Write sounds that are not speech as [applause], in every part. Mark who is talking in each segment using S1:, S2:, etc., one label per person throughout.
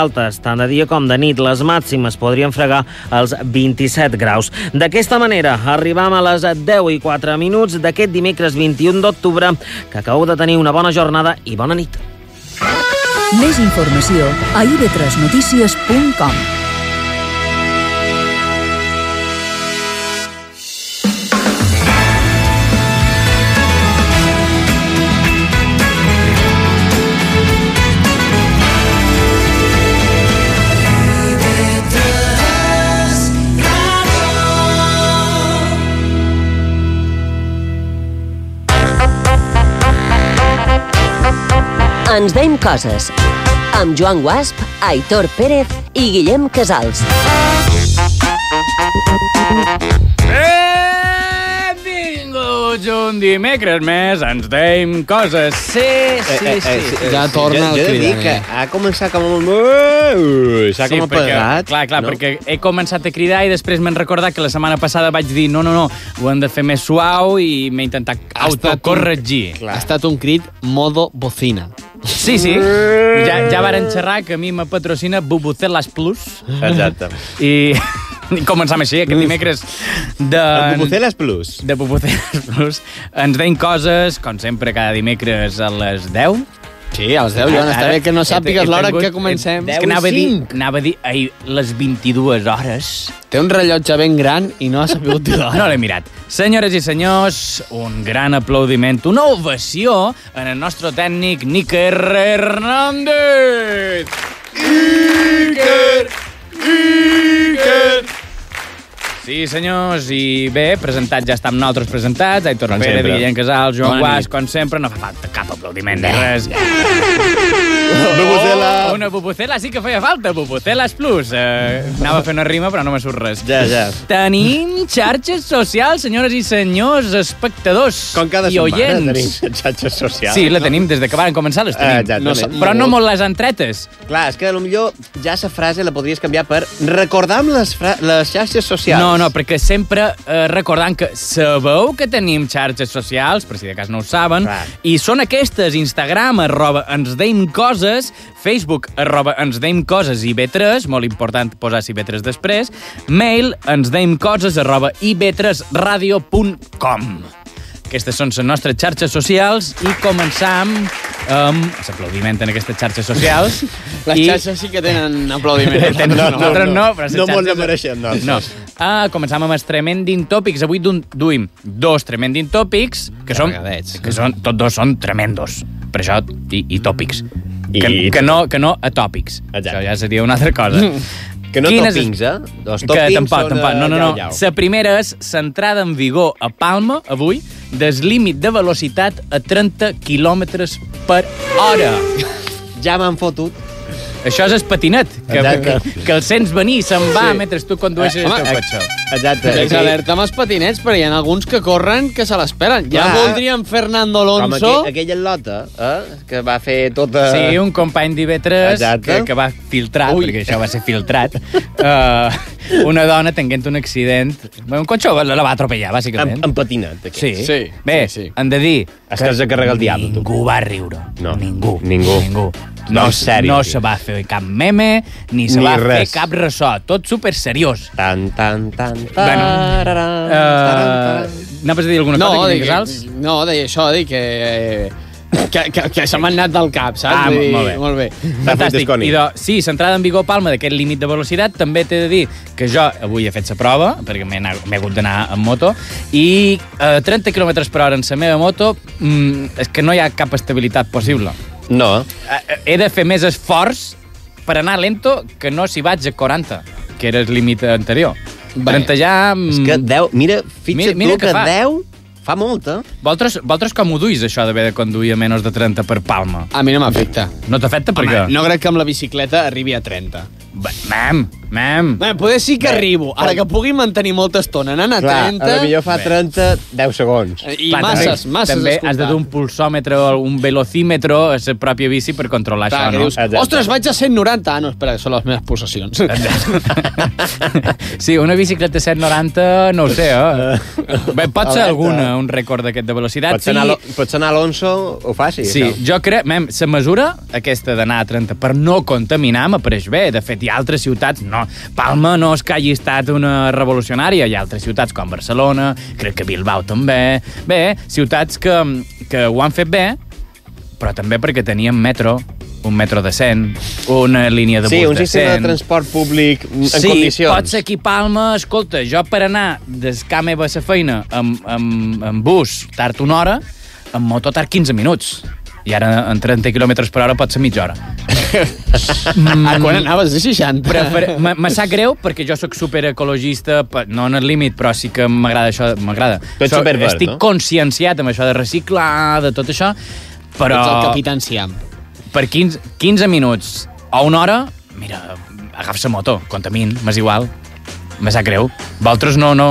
S1: altes, tant de dia com de nit. Les màximes podrien fregar els 27 graus. D'aquesta manera, arribam a les 10 i 4 minuts d'aquest dimecres 21 d'octubre, que acabeu de tenir una bona jornada i bona nit.
S2: Més informació a ib3notícies.com
S3: Ens deim coses. Amb Joan Guasp, Aitor Pérez i Guillem Casals.
S4: Benvinguts un dimecres més, ens deim coses. Sí, sí,
S5: Eh,
S4: sí.
S5: eh, sí, eh,
S6: Ja
S5: sí,
S6: torna
S5: jo,
S6: el
S5: jo he de dir
S6: cridaner.
S5: que ha començat com un... Uh, S'ha
S4: Sí,
S5: com
S4: perquè-
S5: apagat.
S4: Clar, clar,
S5: no?
S4: perquè he començat a cridar i després m'han recordat que la setmana passada vaig dir no, no, no, ho hem de fer més suau i m'he intentat
S6: Ha estat un-
S4: autocorregir.
S6: Ha estat un crit modo bocina.
S4: Sí, sí. Ja, ja varen xerrar que a mi me patrocina Bubucelas Plus
S6: [laughs]
S5: Exacte.
S4: i, [laughs] i començam així aquest dimecres
S5: El
S4: de...
S5: Bubucelas Plus.
S4: de Bubucelas Plus. Ens deim coses, com sempre, cada dimecres a les 10.
S6: Sí, als 10, Joan, està
S4: Ara
S6: bé que no
S4: he-
S6: sàpigues
S4: he
S6: l'hora
S4: tingut-
S6: que comencem.
S4: És
S5: Deu
S4: que
S5: i
S4: anava a dir,
S5: cinc.
S4: anava a dir ahir, les 22 hores.
S6: Té un rellotge ben gran i no ha
S5: [laughs]
S6: sabut dir
S4: No
S6: l'hora.
S4: l'he mirat. Senyores i senyors, un gran aplaudiment, una ovació en el nostre tècnic Níker Hernández. Níker! Níker! Sí, senyors, i bé, presentat ja està amb nosaltres presentats, Aitor
S5: Com
S4: Pere,
S5: sempre.
S4: Guillem Casals, Joan
S6: Bona
S4: Guas,
S6: nit.
S4: com sempre, no fa falta cap aplaudiment ni res.
S5: Bubucela.
S4: Oh, una bubucela sí que feia falta, bubucelas plus. Eh, anava fent una rima, però no me surt res.
S5: Ja, ja.
S4: Tenim xarxes socials, senyores i senyors, espectadors
S5: Com cada
S4: i
S5: setmana
S4: oients.
S5: tenim xarxes socials.
S4: Sí, la tenim des de que van començar, les tenim.
S5: Ah, exactament.
S4: No, sa- però no molt les entretes.
S5: Clar, és que potser ja sa frase la podries canviar per recordar amb les, fra- les xarxes socials.
S4: No, no, perquè sempre eh, recordant que sabeu que tenim xarxes socials, per si de cas no ho saben,
S5: Clar.
S4: i són aquestes, Instagram, arroba ens deim coses, Facebook, arroba ens deim coses i B3, molt important posar si B3 després, mail ens deim coses, arroba ib3radio.com. Aquestes són les nostres xarxes socials i començam amb l'aplaudiment en aquestes xarxes socials.
S6: Les
S4: I-
S6: xarxes sí que tenen aplaudiments.
S4: [laughs] Tenen-
S5: no, no,
S4: nosaltres no,
S5: no.
S4: però les
S5: No molt doncs.
S4: xarxes-
S5: de mereixem, no.
S4: No. Ah, començam amb els Tremending Topics. Avui d'un- duim dos Tremending Topics, que són,
S6: Carregadets.
S4: que són, tots dos són tremendos, per això, i, i tòpics.
S5: I-
S4: que, que, no, que no atòpics.
S5: Exacte.
S4: Això ja seria una altra cosa.
S5: [laughs] Que no
S4: Quines-
S5: toppings, eh? Els
S4: Que
S5: toppings
S4: tampoc,
S5: són, eh,
S4: tampoc. No, no, no.
S5: iau, iau.
S4: La primera és centrada en vigor a Palma, avui, des límit de velocitat a 30 km per hora.
S5: Ja m'han fotut.
S4: Això és el patinet, que, que,
S5: Exacte.
S4: que el sents venir, se'n va
S6: Sí.
S4: mentre tu condueixes el
S6: Home,
S4: teu
S6: eh,
S4: cotxe.
S5: Exacte.
S6: Tens alerta amb els patinets, però hi ha alguns que corren que se l'esperen. Ja
S5: Clar.
S6: voldríem Fernando
S5: Com
S6: Alonso...
S5: aquell, aquella lota, eh? Que va fer tota...
S4: Sí, un company d'IV3
S5: Exacte.
S4: que, que va filtrar, Ui. perquè això va ser filtrat, uh, una dona tenint un accident... Bé, Un cotxe la, la va atropellar, bàsicament.
S5: Amb, amb patinat, aquest.
S4: Sí.
S6: Sí,
S4: Bé,
S6: sí, sí.
S4: hem de dir...
S5: Es que has de carregar el diable, tu.
S4: Ningú va riure.
S5: No.
S4: Ningú.
S5: Ningú.
S4: Ningú.
S5: No,
S4: No,
S5: en sèrio,
S4: no
S5: tio.
S4: se va fer cap meme, ni se
S5: Ni
S4: va
S5: res. Ah.
S4: fer cap ressò. Tot super seriós.
S5: Tan, tan, tan, tan...
S4: Bueno,
S5: tararan,
S4: Uh,
S5: tararan.
S4: Eh, Anaves a dir alguna cosa?
S6: Eh, No,
S4: Guillem
S6: dic,
S4: Casals?
S6: no, deia això, dic que... Que, que, que se m'ha anat del cap, saps?
S4: Ah,
S6: Vull dir,
S4: molt bé.
S6: Molt bé.
S4: Fantàstic.
S5: Fruitesconi.
S4: Idò, sí, centrada en Vigor Palma d'aquest límit de velocitat, també t'he de dir que jo avui he fet la prova, perquè m'he anat- m'he hagut d'anar amb moto, i eh, 30 km per hora en la meva moto mm, és que no hi ha cap estabilitat possible.
S5: No.
S4: Eh, eh, He de fer més esforç per anar lento que no si vaig a 40, que era el límit anterior.
S6: Bé.
S4: 30 ja... Mm,
S5: És que 10... Mira,
S4: Mira-
S5: fixa't
S4: mira
S5: tu
S4: que
S5: que,
S4: fa.
S5: 10 fa molt, eh?
S4: vosaltres, vosaltres com ho duis, això d'haver de conduir a menys de 30 per Palma?
S6: A mi no m'afecta.
S4: No t'afecta perquè...
S6: Home, no crec que amb la bicicleta arribi a 30.
S4: Bé, Mem, Mem.
S6: Bé, poder sí que arribo. Ara que pugui mantenir molta estona anant a
S5: Clar,
S6: 30...
S5: a lo millor fa
S6: Bé.
S5: 30, 10 segons.
S6: I
S4: Clar,
S6: masses,
S4: també,
S6: masses
S4: També
S6: escoltar.
S4: has de dur un pulsòmetre o un velocímetre a la pròpia bici per controlar
S6: Clar, que
S4: això, no?
S6: dius,
S5: Exacte.
S6: ostres, vaig a 190. Ah, no, espera, que són les meves pulsacions.
S4: [laughs] sí, una bicicleta 790, no ho sé,
S6: [laughs]
S4: eh? Bé, pot ser
S5: Alerta.
S6: eh,
S4: alguna, un rècord d'aquest de velocitat.
S5: Pots anar, a Lo- pots anar a l'Alonso, ho faci.
S4: Sí,
S5: això.
S4: jo crec, mem, la mesura aquesta d'anar a 30 per no contaminar m'apareix bé. De fet, hi ha altres ciutats, no, Palma no és que hagi estat una revolucionària, hi ha altres ciutats com Barcelona, crec que Bilbao també, bé, ciutats que, que ho han fet bé, però també perquè tenien metro, un metro de 100, una línia de
S5: sí
S4: bus
S5: un
S4: de 100...
S5: sistema de transport públic en
S4: sí,
S5: condicions.
S4: pot ser aquí Palma, escolta, jo per anar des camp meva a la feina amb, amb, amb bus tard una hora, amb moto tard 15 minuts. I ara en 30 km per hora pot ser mitja hora.
S6: [laughs] Ah, quan anaves de 60.
S4: Mm.
S5: [laughs]
S4: Prefer... me- Me sap greu perquè jo sóc superecologista, pe- no en el límit, però sí que m'agrada això, m'agrada.
S5: Tu ets
S4: Això-
S5: superverd,
S4: Estic
S5: no?
S4: conscienciat amb això de reciclar, de tot això, però...
S6: [laughs] Ets el capitán Siam.
S4: per 15, 15 minuts a una hora, mira, agafa la moto, contamin, m'és igual. Me sap greu. Vosaltres no, no...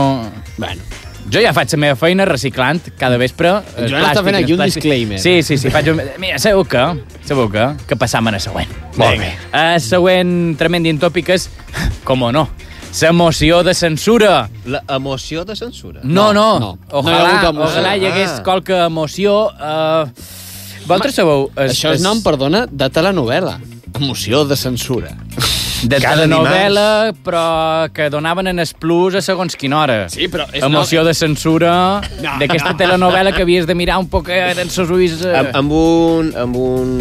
S6: Bueno.
S4: Jo ja faig la meva feina reciclant cada vespre. eh,
S6: Joan està
S4: plàstic,
S6: fent aquí un
S4: plàstic.
S6: disclaimer.
S4: Sí, sí, sí. Faig un... Mira, sabeu que, sabeu que, que passam a la següent. Molt bé. A la següent Tremendin Tòpic és, com o no, la moció de censura.
S5: La emoció de censura.
S4: No, no.
S6: no. No hi ha
S4: Ojalà,
S6: hagut emoció.
S4: ojalà hi hagués
S5: Ah.
S4: qualque emoció. Eh... Vosaltres sabeu... Es,
S6: Això és nom, perdona, de telenovel·la. Emoció de censura.
S4: de
S5: Cada
S4: cada novel·la, però que donaven en es plus a segons quina hora.
S6: Sí, però és
S4: Emoció de censura d'aquesta telenovel·la que havies de mirar un poc en els seus ulls... eh.
S5: Amb, amb un... Amb un...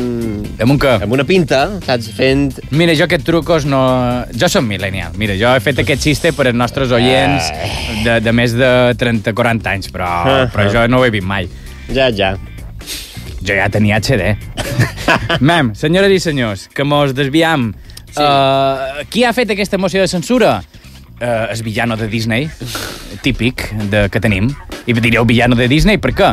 S4: Amb un què?
S5: Amb una pinta, saps? Fent...
S4: Mira, jo aquest trucos no... Jo som millennial. Mira, jo he fet aquest xiste per als nostres oients
S5: Eh.
S4: de, de més de 30-40 anys, però, però jo no ho he vist mai.
S5: Ja, ja.
S4: Jo ja tenia
S5: [laughs]
S4: HD. Mem, senyores i senyors, que mos desviam. Sí. Uh, qui ha fet aquesta moció de censura? Uh, el villano de Disney, típic de, que tenim. I direu villano de Disney, per què?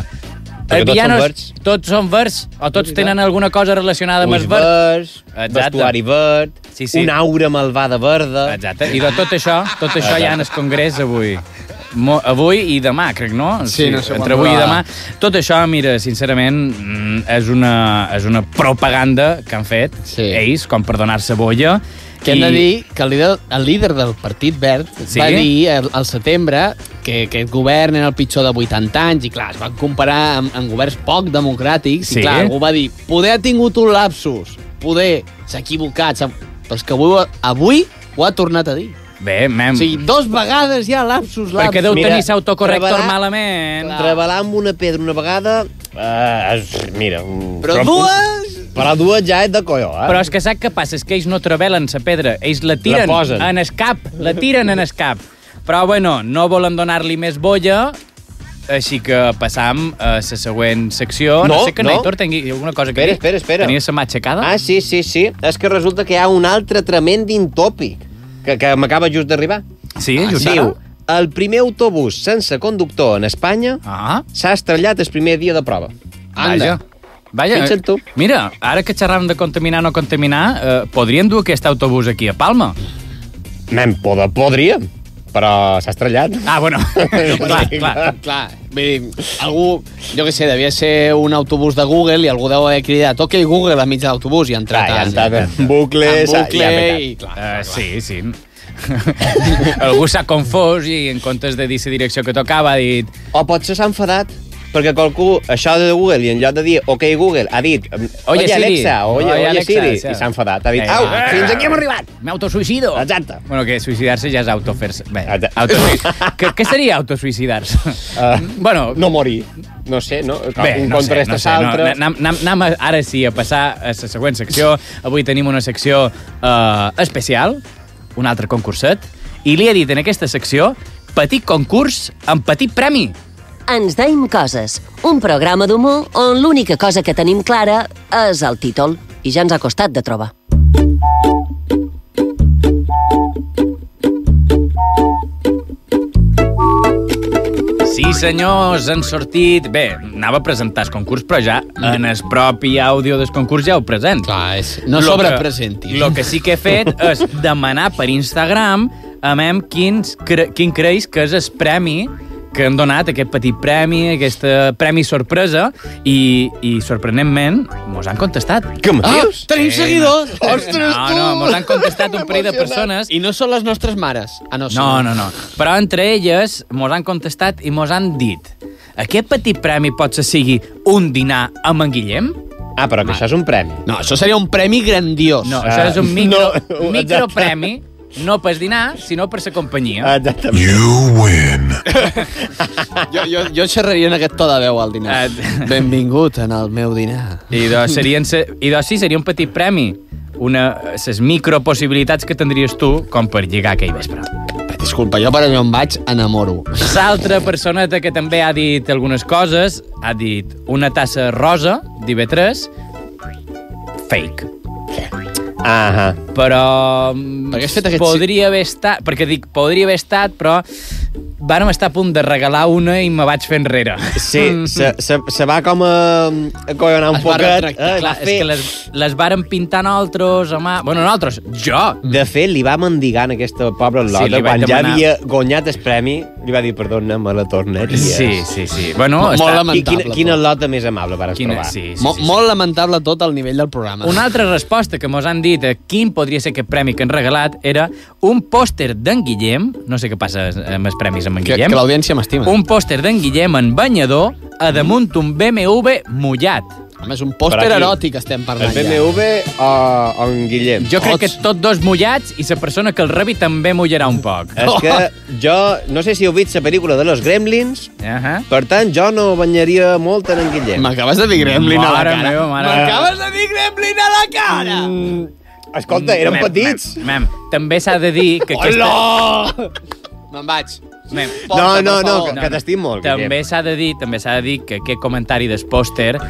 S4: El
S5: Perquè tots
S4: villano
S5: són
S4: és-
S5: verds.
S4: Tots són verds, o tots tenen alguna cosa relacionada amb
S5: Ulls
S4: els verds.
S5: verds,
S4: Exacte.
S5: vestuari verd,
S4: Sí, sí.
S5: una aura malvada verda.
S4: Exacte. I de tot això, tot això hi ha en el Congrés avui. Mo, avui i demà, crec, no?
S6: Sí, no sé quan
S4: Entre avui i
S6: durarà.
S4: demà. Tot això, mira, sincerament, mm, és una, és una propaganda que han fet
S6: Sí.
S4: ells, com per donar-se bolla.
S6: Que hem de dir que el líder, el líder del Partit Verd
S4: Sí?
S6: sí? va dir al, al setembre que aquest govern era el pitjor de 80 anys i, clar, es van comparar amb, amb governs poc democràtics
S4: Sí?
S6: i, clar, algú va dir poder ha tingut un lapsus, poder s'ha equivocat, s'ha-" però és que avui, ho- avui ho ha tornat a dir.
S4: Bé, mem...
S6: O sigui, dos vegades hi ha lapsus, lapsus.
S4: perquè deu
S5: Mira,
S4: tenir s'autocorrector
S5: treballar-
S4: malament.
S5: Treballar amb una pedra una vegada... Uh, és, mira... un-
S6: Però dues...
S5: Però dues ja és de colló, eh?
S4: Però és que sap què passa? És que ells no travelen la pedra, ells la tiren
S5: La posen.
S4: en escap, la tiren en escap. Però, bueno, no volen donar-li més bolla, així que passam a la següent secció.
S5: No,
S4: sé que
S5: no.
S4: Neitor tingui alguna cosa que
S5: Espera,
S4: dir.
S5: espera, espera.
S4: Tenia la mà aixecada?
S5: Ah, sí, sí, sí. És que resulta que hi ha un altre tremendin tòpic que, que m'acaba just d'arribar. Ah,
S4: sí, just ara?
S5: Diu, el primer autobús sense conductor en Espanya
S4: Ah,
S5: s'ha estrellat el primer dia de prova.
S4: vaja. Vaja,
S5: Fixa't tu.
S4: mira, ara que xerràvem de contaminar o no contaminar, eh, podríem dur aquest autobús aquí a Palma?
S5: Nen, poder, podríem, però s'ha estrellat.
S4: Ah,
S5: [laughs]
S4: bueno, clar,
S5: Sí,
S4: clar.
S6: Clar, vull dir, algú, jo què sé, devia ser un autobús de Google i algú deu haver cridat OK Google a mig de l'autobús i ha entrat.
S5: Clar, ja ha
S6: a-
S5: entrat en bucle,
S6: en
S5: s'ha-
S6: bucle
S5: ja ha petat.
S6: i clar.
S4: Uh, sí, sí. [laughs] Algú s'ha confós i en comptes de dir la direcció que tocava ha dit
S5: O potser s'ha enfadat perquè qualcú, això de Google, i en lloc de dir OK Google, ha dit Oye,
S4: Oye, Siri.
S5: Alexa, oye,
S4: Oye,
S5: oye,
S4: Alexa,
S5: Siri,
S4: sí.
S5: i s'ha enfadat. Ha dit,
S4: Eh,
S5: au,
S4: va.
S5: fins aquí hem arribat.
S4: m'autosuïcido.
S5: Exacte.
S4: Bueno, que suïcidar-se ja és autofer-se. Bé,
S5: Exacte. [laughs]
S4: autosuï- que, què seria autosuïcidar-se?
S5: Eh,
S4: bueno,
S5: No morir. No sé, no?
S4: Bé,
S5: un
S4: no sé,
S5: contra
S4: no
S5: no
S4: sé, no,
S5: altre.
S4: anem, anem, anem a- ara sí a passar a la següent secció. Avui tenim una secció eh, especial, un altre concurset, i li he dit en aquesta secció petit concurs amb petit premi.
S3: Ens deim coses, un programa d'humor on l'única cosa que tenim clara és el títol, i ja ens ha costat de trobar.
S4: Sí, senyors, han sortit... Bé, anava a presentar el concurs, però ja en el propi àudio del concurs ja ho present.
S6: Clar, és- no
S4: Lo que-
S6: sobrepresentis.
S4: Lo que sí que he
S6: [laughs]
S4: fet és demanar per Instagram a mem quins, cre, quin creus que és el premi que han donat, aquest petit premi, aquest premi sorpresa, i, i sorprenentment mos han contestat. Eh,
S5: Què me
S6: Ah,
S5: dius? Eh,
S6: tenim seguidors!
S5: Ostres,
S4: no,
S5: tu!
S4: no, mos han contestat un parell de persones
S6: I no són les nostres mares. Ah, no, són.
S4: no, no, no. Però entre elles mos han contestat i mos han dit aquest petit premi potser sigui un dinar amb en Guillem?
S5: Ah, però que això és un premi.
S6: No, això seria un premi grandiós.
S4: No, això és un
S5: [laughs] no,
S4: micro,
S5: exacte. Ah.
S4: micropremi, no per dinar, sinó per la companyia.
S5: Exactament.
S6: [laughs] Jo, jo, jo xerraria en aquest to de veu al dinar.
S4: [laughs] Ah.
S6: Benvingut en el meu dinar.
S4: I doncs, serien, se- i doncs sí, seria un petit premi. Una, ses micropossibilitats que tindries tu com per lligar aquell vespre.
S6: Disculpa, jo per allà on vaig enamoro.
S4: L'altra personeta que també ha dit algunes coses, ha dit una tassa rosa d'IB3, fake.
S5: Ah,
S4: però... mm,
S6: Perquè has fet aquest-
S4: Podria haver estat... Perquè dic, podria haver estat, però vàrem estar a punt de regalar una i me vaig fer enrere. Mm.
S5: sí, se, se, se va com a, a coionar un
S6: Es va
S5: poquet.
S6: retractar,
S5: eh,
S4: Clar,
S5: va
S4: és que les, les varen pintar nosaltres, home... Bueno, nosaltres, jo!
S5: De fet, li va mendigar en aquesta pobra
S4: Sí,
S5: Lola,
S4: li
S5: sí,
S4: vaig
S5: quan ja
S4: demanar-
S5: havia guanyat el premi, li va dir, perdona, me la tornaries.
S4: Sí, sí, sí. Bueno,
S6: Molt
S4: està...
S6: lamentable.
S5: I quina,
S6: tot.
S5: quina lota més amable vas
S4: Quina...
S5: trobar.
S4: Sí, sí,
S6: Mo
S4: sí, sí.
S6: Molt lamentable tot el nivell del programa.
S4: Una altra resposta que mos han dit a quin podria ser aquest premi que han regalat era un pòster d'en Guillem, no sé què passa amb els premis amb en
S6: Que,
S4: Guillem,
S6: que l'audiència m'estima.
S4: un pòster d'en Guillem en banyador a damunt un BMW mullat.
S6: Home, és un pòster
S5: Per aquí.
S6: eròtic estem
S5: El
S6: parlant ja.
S5: BMW o, o en Guillem?
S4: Jo crec que
S6: Tots.
S4: tots dos mullats i la persona que el rebi també mullarà un poc.
S5: És que jo no sé si heu vist la pel·lícula de los Gremlins,
S6: Eh.
S4: Ahà.
S5: per tant, jo no banyaria molt en en Guillem.
S6: M'acabes de dir Gremlin a la
S4: Mare
S6: cara.
S4: meva, mare meva.
S6: M'acabes de dir Gremlin a la cara!
S5: Mm, escolta, eren
S4: Mem,
S5: petits.
S4: Mem, mem, també s'ha de dir que aquesta...
S6: Me'n vaig.
S4: Mem,
S5: No,
S6: Porta,
S5: no,
S6: per
S5: no,
S6: favor.
S5: que, que t'estim molt,
S4: també
S5: Guillem.
S4: s'ha de dir també s'ha de dir que aquest comentari del pòster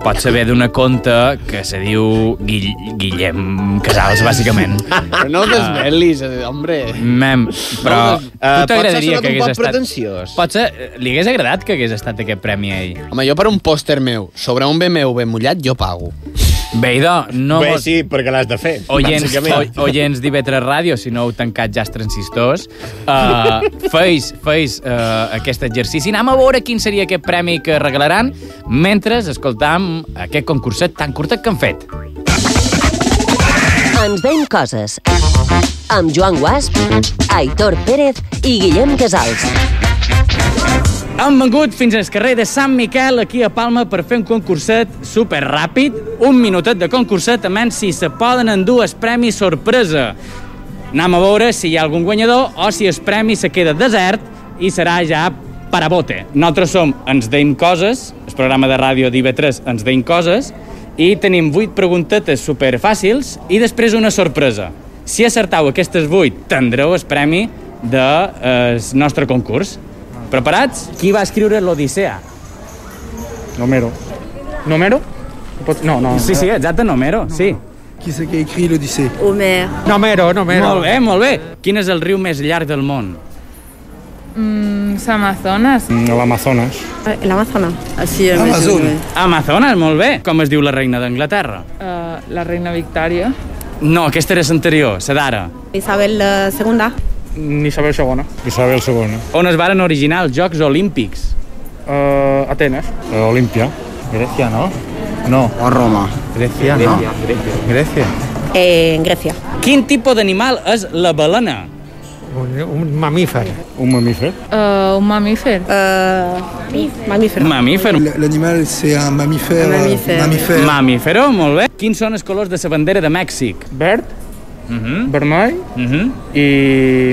S4: pot saber d'una conta que se diu Guill Guillem Casals,
S5: [laughs]
S4: bàsicament.
S6: Però no
S5: Ah.
S6: desvelis, eh, hombre.
S4: Mem, però...
S6: No,
S4: tu
S5: Eh,
S4: t'agradaria que hagués
S5: Pot ser un poc
S4: estat...
S5: pretensiós.
S4: Potser eh, li hagués agradat que hagués estat aquest premi a ell.
S6: Home, jo per un pòster meu sobre un BMW mullat, jo pago.
S4: Bé, idò, no...
S5: Bé,
S4: mos-
S5: sí, perquè l'has de fer,
S4: [laughs] Oients,
S5: bàsicament.
S4: o, oients d'IV3 Ràdio, si no heu tancat ja els transistors, uh, feis, feis uh, aquest exercici. Anem a veure quin seria aquest premi que regalaran mentre escoltam aquest concurset tan curtet que han fet.
S3: Ens veiem coses. Amb Joan Guasp, Aitor Pérez i Guillem Casals.
S4: Hem vengut fins al carrer de Sant Miquel, aquí a Palma, per fer un concurset super ràpid, un minutet de concurset, a menys si se poden endur el premi sorpresa. Anem a veure si hi ha algun guanyador o si el premi se queda desert i serà ja per a bote. Nosaltres som Ens deim coses, el programa de ràdio d'IV3 Ens deim coses, i tenim vuit preguntetes superfàcils i després una sorpresa. Si acertau aquestes vuit, tindreu el premi del de, eh, el nostre concurs. Preparats? Qui va escriure l'Odissea?
S7: Nomero. Nomero Pot- No, no.
S4: Sí, sí, exacte, Nomero, sí.
S8: Qui c'est qui a écrit l'Odyssée
S9: Homer.
S7: Nomero, Nomero.
S4: Molt bé, molt bé. Quin és el riu més llarg del món?
S10: ¿Es Amazonas?
S7: Mm, El Amazones.
S9: El Amazonas. Así es.
S8: Amazon.
S4: Amazones, molt bé. Com es diu la reina d'Anglaterra?
S10: Eh, la reina Victòria.
S4: No, aquesta era l'anterior, la d'ara.
S9: Isabel eh, II.
S7: Mm, Isabel II. Isabel eh? II.
S4: On es varen originar els Jocs Olímpics.
S7: Uh, Atenes. Uh, Olimpia. Grecia, no? No. O Roma. Grecia, no? Grecia.
S9: Eh, en Grecia.
S4: Quin tipus d'animal és la balena?
S7: Un, un mamífer. Un mamífer?
S10: Eh, un mamífer.
S9: Eh, mamífero.
S4: Mamífer.
S8: L'animal, c'est un mammifère.
S9: Un
S8: euh,
S9: mammifère.
S8: mammifère.
S4: Mamífero, molt bé. Quins són els colors de la bandera de Mèxic?
S7: Verd,
S4: Mhm,
S7: vermell
S4: mhm.
S7: i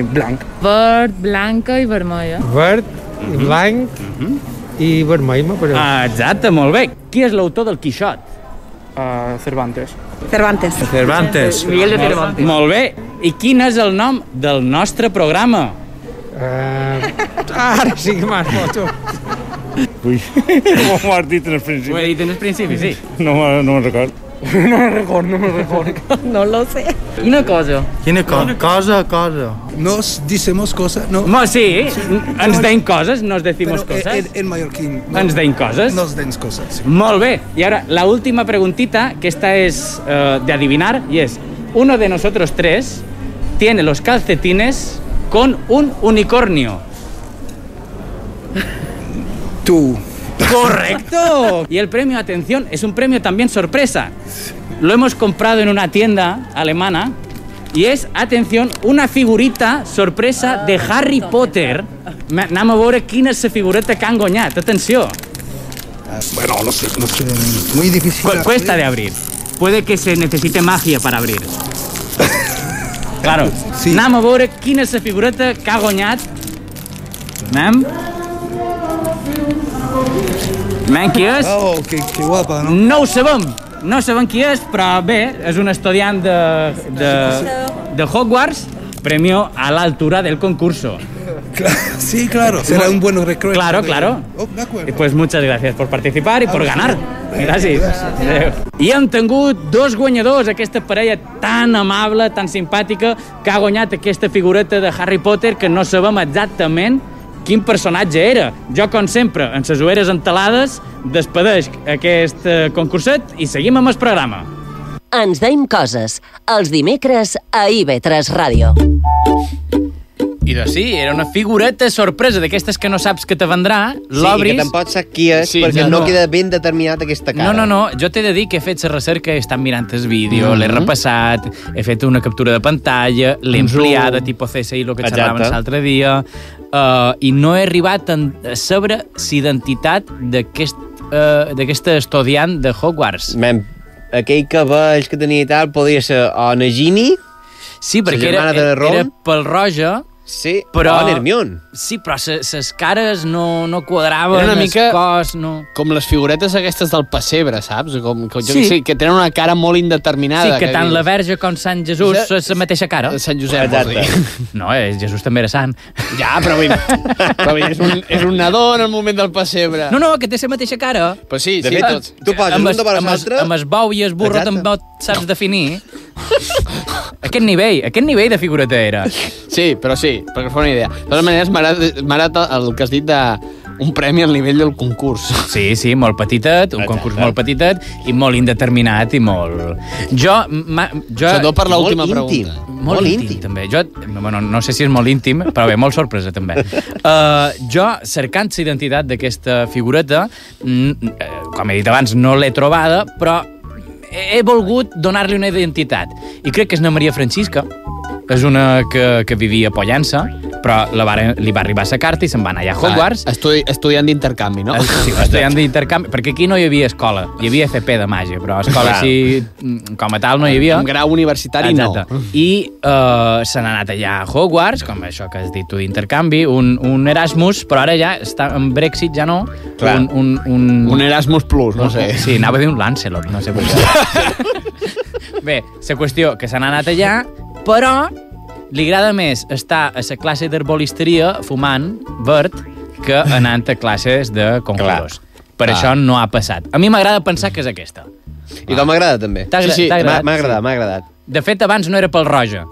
S7: blanc.
S10: Verd, blanca i vermella.
S7: Verd, blanc i vermell, me pareix.
S4: Ah, Exacte, molt bé. Qui és l'autor del Quixot?
S7: Uh, Cervantes.
S9: Cervantes.
S7: Cervantes.
S10: Miguel de Cervantes.
S4: Molt bé. I quin és el nom del nostre programa?
S7: Uh,
S11: Eh,
S7: ara sí que m'has fotut.
S11: Ui, com [laughs] ho has dit en el principi?
S4: dit en el principi, sí. [laughs]
S11: No, me- no me'n record.
S7: No me record, no me record.
S9: No lo sé.
S11: Quina cosa?
S7: Quina cosa? Cosa, cosa.
S8: Nos dicemos cosas, no?
S11: Bueno, sí, ens deim coses, no ens decimos
S8: Pero, eh,
S11: cosas.
S8: En, en mallorquín. no.
S11: Ens deim coses.
S8: Nos dens cosas.
S11: Molt bé. Y ahora, la última preguntita, que esta es eh, de adivinar, y es, uno de nosotros tres tiene los calcetines con un unicornio.
S8: Tú.
S11: ¡Correcto! [laughs] Y el premio, atención, es un premio también sorpresa. Lo hemos comprado en una tienda alemana y es, atención, una figurita sorpresa de Harry Potter. Ma- Anem a veure quina és la figureta que han guanyat. Atenció.
S8: Bueno, no sé, no sé. Muy difícil.
S11: Cu- cuesta de abrir. Puede que se necesite magia para [laughs] abrir. Claro. Sí. Anem a veure quina és la figureta que ha guanyat. Anem. Anem, qui és?
S8: Oh, que, que guapa, no?
S11: No ho sabem. No sabem qui és, però bé, és un estudiant de, de, de Hogwarts. Premio a la altura del concurso.
S8: [laughs] Sí, claro. Será un buen recuerdo.
S11: Claro, claro.
S8: Oh, de acuerdo.
S11: I pues muchas gracias por participar i por ganar. Gràcies. Adéu. I hem tingut dos guanyadors, aquesta parella tan amable, tan simpàtica, que ha guanyat aquesta figureta de Harry Potter que no sabem exactament quin personatge era. Jo, com sempre, amb les oeres entelades, despedeix aquest eh, concurset i seguim amb el programa.
S3: Ens deim coses, els dimecres a IB3 Ràdio.
S4: I doncs sí, era una figureta sorpresa d'aquestes que no saps que te vendrà, l'obris...
S5: Sí, i que tampoc sap qui és, sí,
S4: ja
S5: perquè no, no queda ben determinat aquesta cara.
S4: No, no, no, jo t'he de dir que he fet la recerca, he estat mirant el vídeo, mm -hmm. l'he repassat, he fet una captura de pantalla, l'he
S5: Un zoom.
S4: ampliada, tipus CSI, el que
S5: Exacte.
S4: xerràvem l'altre dia, uh, i no he arribat en- a saber l'identitat d'aquest uh, d'aquesta estudiant de Hogwarts.
S6: Mm.
S5: Mem, aquell cabell que tenia i tal podria ser o Nagini,
S4: Sí, perquè
S5: la
S4: era,
S5: germana de Ron,
S4: era pel roja,
S5: sí,
S4: però...
S5: o en Hermione.
S4: Sí, però ses cares no, no quadraven,
S6: Era una
S4: el
S6: mica-
S4: cos no...
S6: Com les figuretes aquestes del pessebre, saps? Com, com, jo,
S4: Sí.
S6: sí. sí. que tenen una cara molt
S4: Sí,
S6: indeterminada.
S4: que tant la
S6: dius,
S4: Verge com Sant Jesús
S6: Ja-
S4: és la mateixa cara.
S6: Sant Josep, vols dir.
S4: No, eh, Jesús també era sant.
S6: Ja, però, vull, [laughs] però vull, dir, és, un, és un nadó en el moment del pessebre.
S4: No, no, que té la mateixa cara.
S6: Però sí,
S5: De
S6: sí,
S5: fet,
S6: tots.
S5: tu poses
S4: Amb
S5: un
S4: es-
S5: davant
S4: amb es-
S5: l'altre.
S4: Amb es bou i es burro
S5: Exacte.
S4: tampoc saps definir. aquest nivell, aquest nivell de figureta era.
S6: Sí, però sí, perquè fa una idea. De totes maneres, m'ha agradat- m'ha agradat el que has dit de un premi al nivell del concurs.
S4: Sí, sí, molt petitet, un concurs molt petitet i molt indeterminat i molt... Jo... Ma, jo
S6: Sobretot per l'última
S5: Molt íntim.
S6: pregunta.
S4: Molt, molt íntim, íntim, també. Jo, bueno, no sé si és molt íntim, però bé, molt sorpresa, també. Uh, jo, cercant la identitat d'aquesta figureta, mm, eh, com he dit abans, no l'he trobada, però he he volgut donar-li una identitat. I crec que és una Maria Francisca. És una que, que vivia a Pollença, però la va, li va arribar la carta i se'n va anar allà a Hogwarts.
S6: Ah, Estudi, estudiant d'intercanvi, no?
S4: Sí, estudiant d'intercanvi, perquè aquí no hi havia escola, hi havia FP de màgia, però escola així mm, com a tal no hi havia.
S6: Un grau universitari,
S4: Exacte.
S6: no.
S4: I uh, se n'ha anat allà a Hogwarts, com això que has dit tu d'intercanvi, un, un Erasmus, però ara ja està en Brexit, ja no.
S5: Clar.
S4: Un, un, un,
S6: Un Erasmus Plus, no sé.
S4: Sí, anava a dir un Lancelot, no sé per què. Bé, la qüestió, que se n'ha anat allà, però li agrada més estar a la classe d'herbolisteria fumant verd que anant a classes de conjuros. Per
S6: Ah.
S4: això no ha passat. A mi m'agrada pensar que és aquesta.
S5: I doncs m'agrada també.
S4: T'ha agra-
S5: sí, sí,
S4: t'ha agradat,
S5: m'ha- M'ha
S4: sí.
S5: agradat, m'ha agradat.
S4: De fet, abans no era pel roja,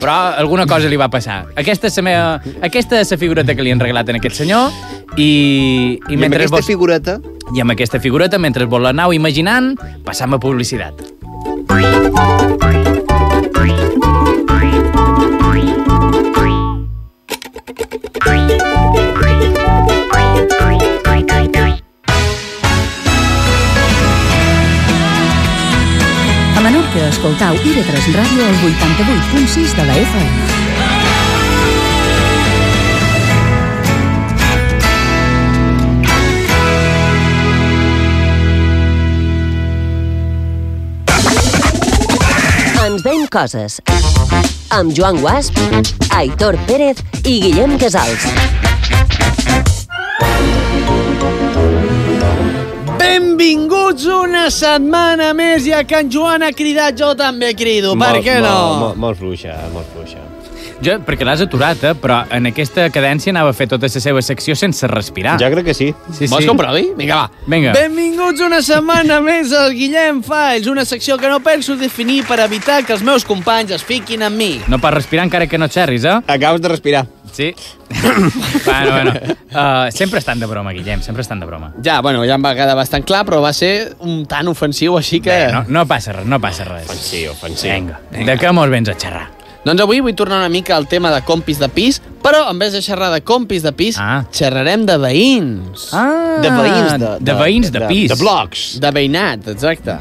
S4: però alguna cosa li va passar. Aquesta és la, meva, aquesta és la figureta que li han regalat en aquest senyor i, i,
S5: I, amb
S4: mentre
S5: aquesta
S4: vols,
S5: figureta...
S4: i amb aquesta figureta, mentre vol la nau imaginant, passam a publicitat.
S2: A Menorca escoltau IB3 Ràdio al 88.6 de la FM.
S3: Ens deim coses. Amb Joan Guasp, Aitor Pérez i Guillem Casals.
S6: Benvinguts una setmana més i a Can Joan ha cridat, jo també crido, per què no?
S4: Molt, molt fluixa, molt fluixa. Jo, perquè l'has aturat, eh? però en aquesta cadència anava a fer tota la seva secció sense respirar. Ja crec que sí. sí, sí.
S6: Vols que ho provi? Vinga, va.
S4: Vinga.
S6: Benvinguts una setmana més al Guillem Files, una secció que no penso definir per evitar que els meus companys es fiquin amb mi.
S4: No per respirar encara que no xerris, eh? Acabes de respirar. Sí. [coughs] bueno, bueno. Uh, sempre estan de broma, Guillem, sempre estan de broma.
S6: Ja, bueno, ja em va quedar bastant clar, però va ser un tant ofensiu, així que...
S4: Bé, no, no passa res, no passa res. Ofensiu, ofensiu. Vinga, de què mos vens a xerrar?
S6: Doncs avui vull tornar una mica al tema de compis de pis, però en vez de xerrar de compis de pis, ah. xerrarem de veïns. Ah,
S4: De veïns de- de veïns de pis.
S6: De blocs. De veïnat, exacte.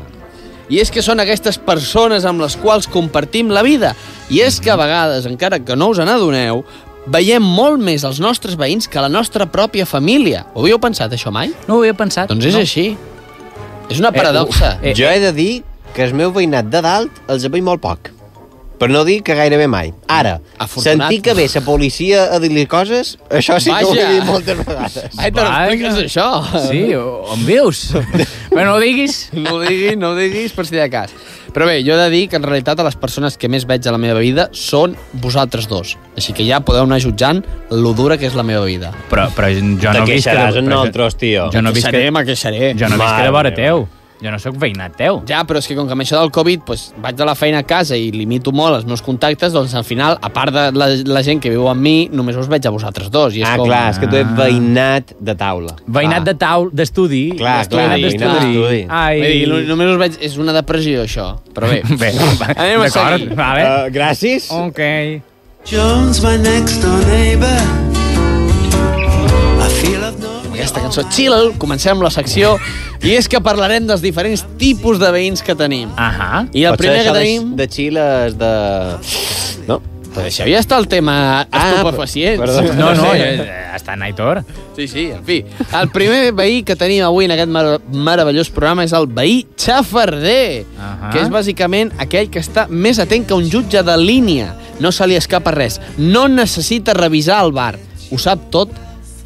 S6: I és que són aquestes persones amb les quals compartim la vida. I és que a vegades, encara que no us n'adoneu, veiem molt més els nostres veïns que la nostra pròpia família. Ho havíeu pensat, això, mai?
S4: No ho havia pensat.
S6: Doncs és
S5: no.
S6: així. És una paradoxa.
S5: Eh, jo he de dir que el meu veïnat de dalt els veig molt poc. Per no dir que gairebé mai. Ara,
S6: Afortunat.
S5: sentir que ve la policia a dir-li coses, això sí que ho he
S6: Vaja.
S5: dit moltes vegades.
S6: Ai, te n'expliques això.
S4: Sí, on vius? bueno, no ho diguis.
S6: [laughs] No ho diguis, no ho diguis, per si de cas. Però bé, jo he de dir que en realitat a les persones que més veig a la meva vida són vosaltres dos. Així que ja podeu anar jutjant lo dura que és la meva vida.
S4: Però, però jo
S6: Te
S4: no visc...
S6: queixaràs en
S5: nosaltres, tio.
S4: Jo no visc...
S6: Queixaré, me queixaré.
S4: Jo no visc
S6: Mare
S4: de vora
S6: meva.
S4: teu. Jo no sóc veïnat teu.
S6: Ja, però és que com que amb això del Covid pues, vaig de la feina a casa i limito molt els meus contactes, doncs al final, a part de la, la gent que viu amb mi, només us veig a vosaltres dos. I és
S5: Ah,
S6: com...
S5: clar, és que tu ets veïnat de taula.
S4: Veïnat de taula, d'estudi.
S6: Ah,
S5: Clar, clar, veïnat d'estudi.
S4: Ai.
S6: Vull dir, no- només us veig... És una depressió, això. Però
S5: [laughs]
S6: bé.
S4: Bé, va,
S6: anem a
S4: d'acord,
S6: seguir.
S4: vale. Eh,
S5: gràcies.
S4: Ok.
S12: Jones, my next door neighbor. I feel I've known
S6: Amb aquesta cançó chill, comencem la secció i és que parlarem dels diferents tipus de veïns que tenim.
S4: Ahà.
S6: I el
S5: Potser
S6: primer que
S5: això Ah, de-
S6: tenim...
S5: De Xile és de... No?
S6: Això ja està el tema estupefacients.
S5: Ah, perdó.
S4: No, no,
S6: sé.
S4: ja, eh, està en Aitor.
S6: Sí, sí, en fi. El primer veí que tenim avui en aquest mar meravellós programa és el veí xafarder,
S4: Ahà.
S6: que és bàsicament aquell que està més atent que un jutge de línia. No se li escapa res. No necessita revisar el bar. Ho sap tot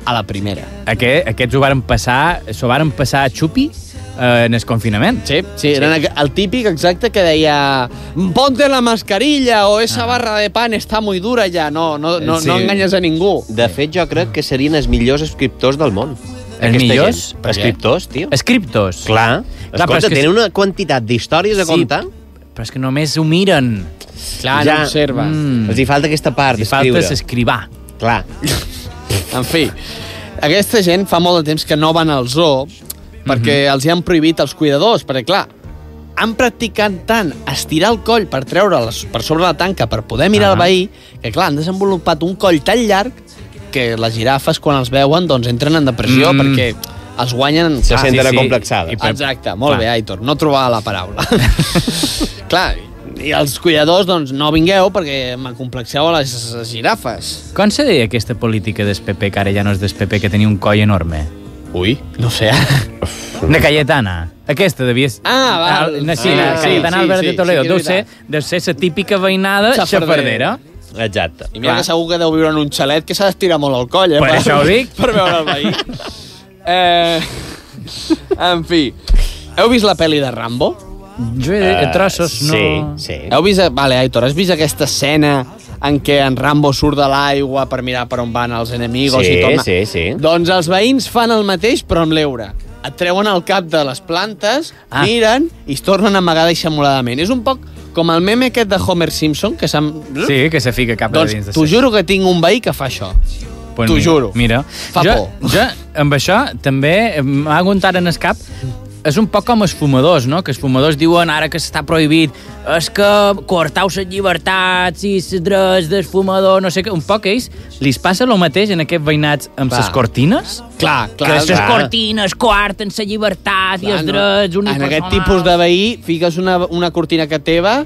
S6: a la primera.
S4: Aquest, aquests ho varen passar, s'ho varen passar a Xupi eh, en el confinament.
S6: Sí, Sí, eren aqu- el típic exacte que deia «Ponte la mascarilla» o «Esa barra de pan està muy dura ja». No, no, no,
S5: Sí.
S6: no enganyes a ningú.
S5: De fet, jo crec que serien els millors escriptors del món.
S4: Els
S5: Aquesta
S4: millors?
S5: gent.
S4: Per què?
S5: Escriptors, tio.
S4: Escriptors?
S5: Clar. Escolta,
S4: però és que-
S5: tenen una quantitat d'històries a
S4: Sí,
S5: comptar.
S4: Però és que només ho miren.
S6: Clar, no observen.
S5: Mm. Els hi falta aquesta part
S6: Els hi falta
S5: d'escriure.
S4: s'escrivar.
S5: Clar.
S6: En fi, aquesta gent fa molt de temps que no van al zoo perquè
S5: Mhm.
S6: els hi han prohibit els cuidadors, perquè clar, han practicat tant estirar el coll per treure les, per sobre la tanca per poder mirar ah. el veí, que clar, han desenvolupat un coll tan llarg que les girafes quan els veuen doncs entren en depressió
S5: Mm.
S6: mm. perquè els guanyen...
S5: Se
S6: Ah,
S5: senten acomplexades.
S6: Exacte, molt
S5: Clar.
S6: bé, Aitor, no trobava la
S5: [laughs]
S6: paraula. clar, i els cuidadors doncs no vingueu perquè m'acomplexeu a les, les girafes.
S4: Com se deia aquesta política del PP, que ara ja no és del PP, que tenia un coll enorme?
S6: Ui, no sé.
S4: eh? De Cayetana. Aquesta devia... ser-
S6: Ah, val.
S4: Al- Sí,
S6: Ah,
S4: ah,
S6: sí,
S4: Cayetana
S6: sí,
S4: Álvarez
S6: sí,
S4: de Toledo.
S6: sí que
S4: deu,
S6: és
S4: ser, deu ser la típica veïnada xafardera.
S6: Xafardera.
S5: Exacte.
S6: I mira que segur que deu viure en un xalet que s'ha d'estirar molt el coll, eh?
S4: Per això ho dic.
S6: Per veure el veí. eh, en fi, heu vist la pel·li de Rambo?
S4: Jo he,
S5: Eh, trossos, no. sí, sí.
S6: Heu vist, vale, Aitor, has vist aquesta escena en què en Rambo surt de l'aigua per mirar per on van els enemigos
S5: Sí,
S6: i torna...
S5: sí, sí.
S6: Doncs els veïns fan el mateix, però amb l'eure. Et treuen el cap de les plantes, ah. miren i es tornen a amagar deixamoladament. És un poc com el meme aquest de Homer Simpson, que s'han...
S4: Sí, que se fica cap a dins
S6: Doncs
S4: de
S6: t'ho juro que tinc un veí que fa això.
S4: Pues
S6: T'ho
S4: mira,
S6: juro.
S4: Mira,
S6: Fa
S4: jo,
S6: por.
S4: Jo, amb això, també m'ha aguantat en el cap és un poc com els fumadors, no? Que els fumadors diuen ara que està prohibit és que coartau les llibertats i els drets del fumador, no sé què. Un poc a ells li passa el mateix en aquests veïnats amb
S6: Clar.
S4: les cortines?
S6: Clar, clar.
S4: Que les
S6: clar.
S4: cortines coarten la llibertat i
S6: Clar,
S4: els
S6: no.
S4: drets
S6: En
S4: unipersonals.
S6: aquest tipus de veí fiques una, una cortina que teva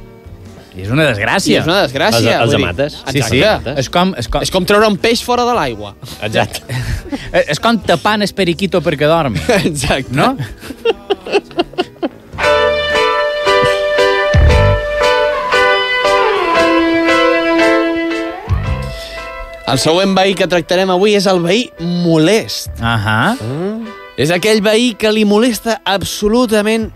S4: I és una desgràcia.
S6: I és una desgràcia. vull dir.
S4: Sí, sí.
S6: Exacte.
S4: És com, és, com,
S6: És com treure un peix fora de l'aigua.
S5: Exacte.
S4: Eh, [laughs] És com tapant el periquito perquè dormi.
S6: [laughs] Exacte.
S4: No?
S6: El següent veí que tractarem avui és el veí molest.
S4: Ahà.
S6: És aquell veí que li molesta absolutament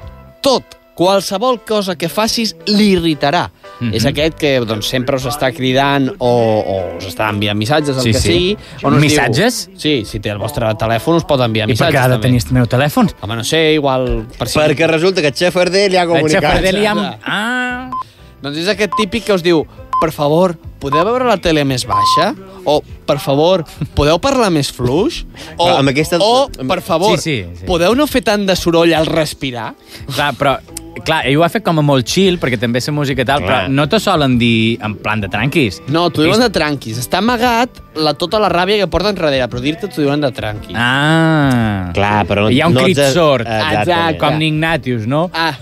S6: tot. Qualsevol cosa que facis l'irritarà.
S4: Mhm.
S6: Mm -hmm. És aquest que doncs, sempre us està cridant o, o us està enviant missatges, el
S4: Sí,
S6: que
S4: sí.
S6: sigui. On us
S4: Missatges?
S6: Diu, sí, si té el vostre telèfon us pot enviar
S4: I per
S6: missatges.
S4: què ha de
S6: també.
S4: tenir el meu telèfon?
S6: Home, no sé, igual... Per si...
S5: Perquè resulta que Xefardé li ha comunicat.
S6: Xefardé li ha-
S4: Ah.
S6: Doncs és aquest típic que us diu per favor, podeu veure la tele més baixa? O, per favor, podeu parlar més fluix? O,
S5: Però amb aquesta-
S6: o per favor,
S4: Sí, sí, sí.
S6: podeu no fer tant de soroll al respirar?
S4: Clar, però clar, ell ho ha fet com a molt chill, perquè també sé música i tal,
S6: Clar.
S4: però no t'ho solen dir en plan de tranquis.
S6: No, t'ho diuen de tranquis. Està amagat la, tota la ràbia que porten darrere, però dir-te t'ho diuen de tranquis.
S4: Ah.
S5: Clar, però no,
S4: Hi ha un
S5: no
S4: crit
S5: ets-
S4: sort.
S5: Exacte.
S4: Com Ignatius, no?
S6: Ah.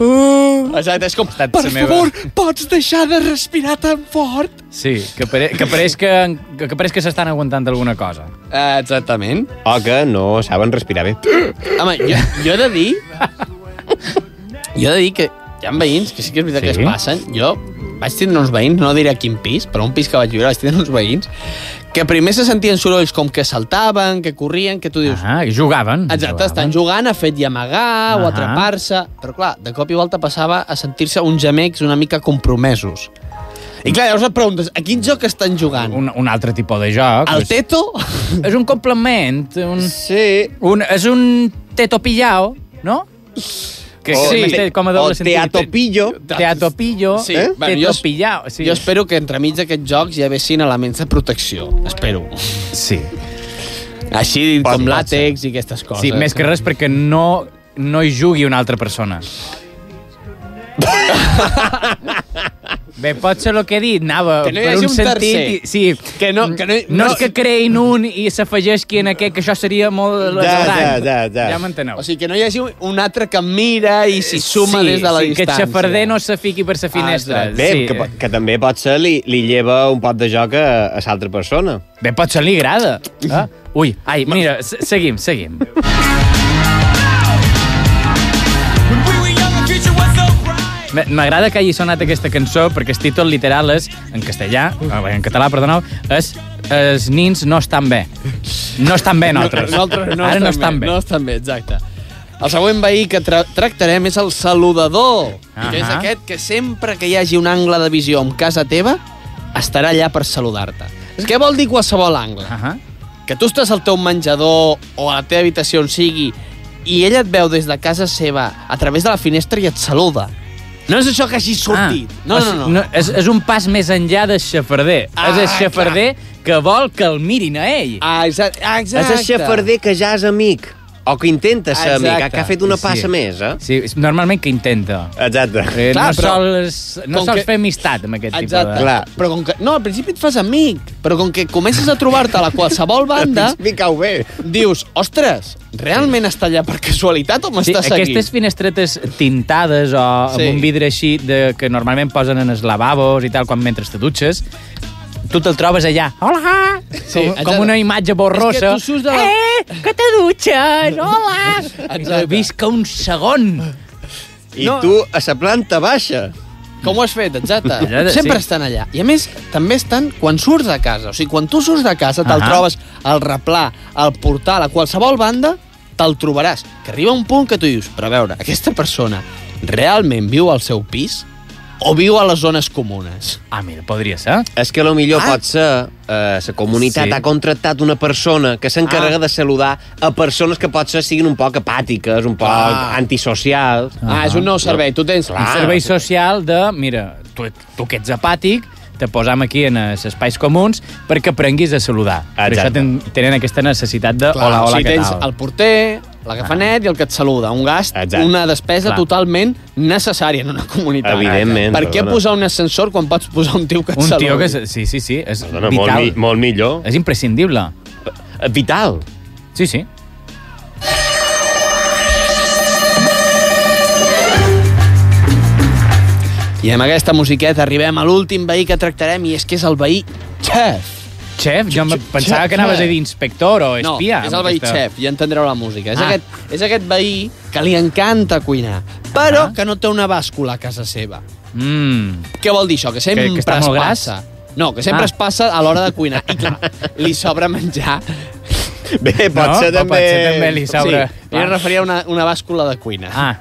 S6: Exacte, és com... Per
S4: la meva.
S6: favor, pots deixar de respirar tan fort?
S4: Sí, que, pare que pareix que, que, que, pareix que s'estan aguantant alguna cosa.
S6: Eh, exactament.
S5: O Oh, que no saben respirar bé.
S6: Home, jo, jo he
S4: [laughs]
S6: de dir... Jo he de dir que hi ha veïns que sí que és veritat sí. que es passen. Jo vaig tindre uns veïns, no diré a quin pis, però un pis que vaig viure vaig tindre uns veïns que primer se sentien sorolls com que saltaven, que corrien, que tu dius...
S4: Ah, que jugaven.
S6: Exacte, estan jugant, a fet i amagar o
S4: Ahà.
S6: atrapar-se... Però clar, de cop i volta passava a sentir-se uns gemecs una mica compromesos. I clar, llavors et preguntes, a quin joc estan jugant?
S4: Un, un altre tipus de joc.
S6: El teto?
S4: És un complement. Un,
S5: sí.
S4: Un, és un teto pillao, no? Que,
S6: O
S4: sí,
S6: te-
S4: té com a doble
S6: Oh, o
S4: sentit.
S6: teatopillo.
S4: Teatopillo.
S6: Sí,
S4: Eh?
S6: bueno, jo-
S4: teto pillao. Sí.
S6: Jo espero que entremig d'aquests jocs hi haguessin elements de protecció. Espero.
S4: Sí.
S6: Així Pot, com làtex i aquestes coses.
S4: Sí, més que res perquè no, no hi jugui una altra persona. Bé, pot ser el que he dit, anava
S6: Que no hi
S4: per un,
S6: hagi un
S4: sentit...
S6: tercer.
S4: I, sí,
S6: que no, que no,
S4: no, és que creïn un i s'afegeix qui en aquest, que això seria molt...
S6: ja, ja, ja.
S4: ja m'enteneu.
S6: O sigui, que no hi hagi un altre que mira i s'hi suma
S4: Eh, sí,
S6: des de la
S4: sí,
S6: distància. Ah,
S4: Que el xafarder no se fiqui per sa finestra.
S5: Ostres, Bé, sí. que, po- que també pot ser li, li lleva un pot de joc a, a l'altra persona.
S4: Bé, pot ser li agrada. Eh? Ui, ai, mira, se- seguim, seguim. M- M'agrada que hagi sonat aquesta cançó perquè el títol literal és, en castellà, ah, en català, perdoneu, és els nins no estan bé. No estan bé, nosaltres.
S6: Nosaltres no
S4: Ara
S6: estan
S4: no estan bé.
S6: No estan bé, exacte. El següent veí que tra tractarem és el saludador, uh -huh. que és
S4: Ahà.
S6: aquest que sempre que hi hagi un angle de visió en casa teva, estarà allà per saludar-te. Què vol dir qualsevol angle? Uh
S4: -huh.
S6: Que tu estàs al teu menjador o a la teva habitació on sigui i ella et veu des de casa seva a través de la finestra i et saluda. No és això que hagi sortit. Ah, no,
S4: O
S6: no,
S4: sigui,
S6: no.
S4: és, és un pas més enllà de xafarder. Ah, és el xafarder que vol que el mirin a ell.
S6: Ah, exacte.
S5: És el xafarder que ja és amic. O que intenta ser
S4: Exacte.
S5: amic, que ha fet una passa
S4: Sí.
S5: més, eh?
S4: Sí, normalment que intenta.
S5: Exacte.
S4: Eh,
S6: Clar,
S4: no
S6: però-
S4: sols, no
S6: com
S4: sols
S6: que-
S4: fer amistat amb aquest tipus
S6: Exacte.
S4: de...
S6: Clar. Però com que... No, al principi et fas amic, però com que comences a trobar-te a la qualsevol banda...
S5: Al principi cau bé.
S6: Dius, ostres, realment està allà per casualitat o
S4: Sí,
S6: m'està seguint?
S4: aquestes finestretes tintades o sí.
S6: Sí.
S4: amb un vidre així de, que normalment posen en els lavabos i tal quan mentre te dutxes, tu te'l trobes allà. Hola!
S6: Sí,
S4: com, com una imatge borrosa.
S6: És que tu surts de
S4: Eh,
S6: la...
S4: que te dutxes! Hola!
S6: Exacte.
S4: Visca un segon!
S5: I no. tu a la planta baixa.
S6: Com ho has fet,
S5: [laughs]
S6: exacte.
S5: Exacte,
S6: Sempre
S5: sí.
S6: estan allà. I a més, també estan quan surts de casa. O sigui, quan tu surts de casa, te'l
S5: Ahà.
S6: trobes al replà, al portal, a qualsevol banda, te'l trobaràs. Que arriba un punt que tu dius, però a veure, aquesta persona realment viu al seu pis o viu a les zones comunes?
S4: Ah, mira, podria ser.
S5: És que millor ah. pot ser eh, la comunitat
S6: Sí.
S5: sí. ha contractat una persona que s'encarrega
S6: Ah.
S5: ah. de saludar a persones que potser siguin un poc apàtiques, un poc
S6: Ah.
S5: ah. antisocials.
S6: Ah, és un nou servei. Tu tens
S4: Un servei social de, mira, tu, tu que ets apàtic, te posam aquí en els espais comuns perquè aprenguis a saludar. Per
S6: Exacte.
S4: això ten, tenen aquesta necessitat de hola, hola,
S6: o sigui,
S4: què
S6: tens
S4: tal? Ah.
S6: el porter, la gafanet i el que et saluda. Un gast,
S4: Exacte.
S6: una despesa
S4: Clar.
S6: totalment necessària en una comunitat.
S5: Evidentment,
S6: Per què
S5: perdona.
S6: posar un ascensor quan pots posar un tio que et
S4: Un
S6: saludi?
S4: tio que... se- Sí, sí, sí, és
S5: Perdona, molt
S4: vital.
S5: mi- molt millor.
S4: És imprescindible.
S5: Vital.
S4: Sí, sí.
S6: I amb aquesta musiqueta arribem a l'últim veí que tractarem i és que és el veí xef.
S4: Xef? Jo em pensava que anaves a dir inspector o
S6: No,
S4: espia.
S6: és el veí
S4: Aquesta-
S6: xef, ja entendreu la música. És,
S4: Ah.
S6: aquest, és aquest veí que li encanta cuinar,
S4: Ah.
S6: però que no té una bàscula a casa seva.
S4: Mm.
S6: Què vol dir això? Que sempre
S4: que està
S6: es
S4: molt gras?
S6: passa. No, que sempre
S4: Ah.
S6: es passa a l'hora de cuinar. I clar, li sobra menjar
S5: Bé, potser
S6: No? O
S5: també...
S6: potser també li sobra.
S5: Sí.
S6: Jo em referia a una, una bàscula de cuina. Ah.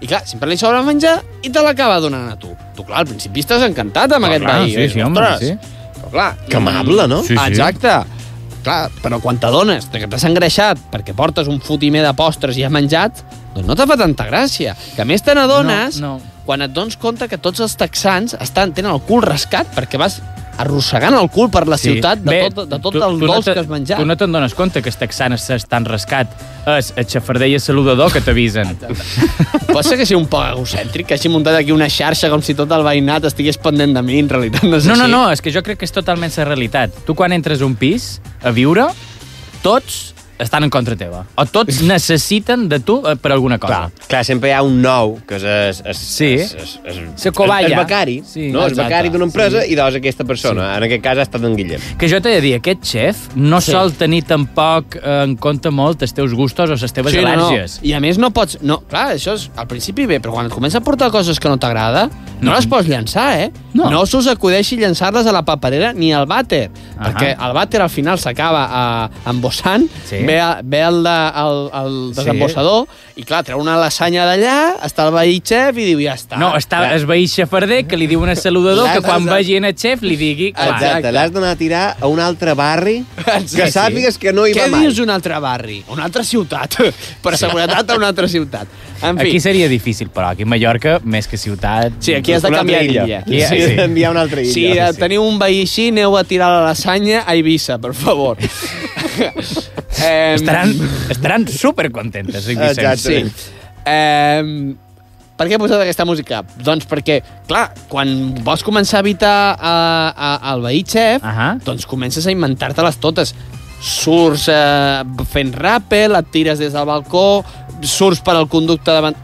S6: I clar, sempre li sobra menjar i te l'acaba donant a tu. Tu, clar, al principi estàs encantat amb
S5: Clar,
S6: aquest
S5: clar,
S6: veí.
S5: sí,
S6: Dius,
S5: sí, home,
S6: "Ostres,
S5: sí.
S6: Però clar...
S5: Que amable, no? Sí,
S6: Sí,
S5: sí.
S6: sí. Exacte. Clar, però quan t'adones de que t'has engreixat perquè portes un fotimer de postres i has menjat, doncs no te fa tanta gràcia. Que a més te n'adones
S4: No, no.
S6: quan et dones compte que tots els texans estan, tenen el cul rascat perquè vas arrossegant el cul per la sí. ciutat de
S4: Bé,
S6: tot, de tot
S4: tu-
S6: el
S4: tu no
S6: dolç
S4: te-
S6: que has menjat. [laughs]
S4: Tu no te'n dones compte que els texans estan rascat. És el xafarder i el saludador que t'avisen.
S6: Pot ser que sigui un poc egocèntric, que hagi muntat aquí una xarxa com si tot el veïnat estigués pendent de mi, en realitat no és
S4: No, no,
S6: així.
S4: no, és que jo crec que és totalment la realitat. Tu quan entres a un pis a viure, tots estan en contra teva. O
S6: [laughs]
S4: tots necessiten de tu eh, per alguna cosa.
S5: Clar, sempre hi ha un nou, que és... és, és sí. És, és, és,
S4: Se cobaya.
S5: És becari, sí,
S4: Sí,
S5: no? És
S4: exacte.
S5: becari d'una empresa
S4: Sí.
S5: sí. i doncs aquesta persona. Sí. En aquest cas ha estat en Guillem.
S4: Que jo t'he de dir, aquest xef no
S5: Sí.
S4: sí. sol tenir tampoc eh, en compte molt els teus gustos o les teves
S6: Sí, no, no.
S4: al·lèrgies.
S6: I a més no pots... No, clar, això és al principi bé, però quan et comença a portar coses que no t'agrada, no, les pots llançar, eh? No, no se us acudeixi llançar-les a la paperera ni al vàter, perquè el vàter al final s'acaba eh, embossant,
S4: Sí.
S6: ve, a- ve el, de, el, el desembossador, i clar, treu una lasanya d'allà, està el veí xef i diu, ja està.
S4: No, està
S6: Ja.
S4: el veí xafarder que li diu un saludador que quan
S5: Exacte.
S4: vegin el xef li digui... clar.
S5: Exacte, l'has d'anar a tirar a un altre barri que sàpigues que no hi va
S6: Què
S5: mai.
S6: dius un altre barri? Una altra ciutat. [laughs] Per seguretat, a una altra ciutat. En fi,
S4: Aquí seria difícil, però aquí a Mallorca, més que ciutat...
S6: Sí, aquí has de canviar d'illa.
S4: Aquí, sí,
S6: [laughs]
S4: sí.
S6: Si eh, teniu un veí així, aneu a tirar la lasanya a Eivissa, per
S4: [laughs]
S6: favor. eh,
S4: Estaran, estaran supercontentes. sí, Vicenç.
S6: Sí. Eh, per què he posat aquesta música? Doncs perquè, clar, quan vols començar a evitar eh, a- el veí xef, uh
S4: Ah?
S6: -huh. doncs comences a inventar-te-les totes. Surts eh, fent ràpel, et tires des del balcó, surts per al conducte de... ven-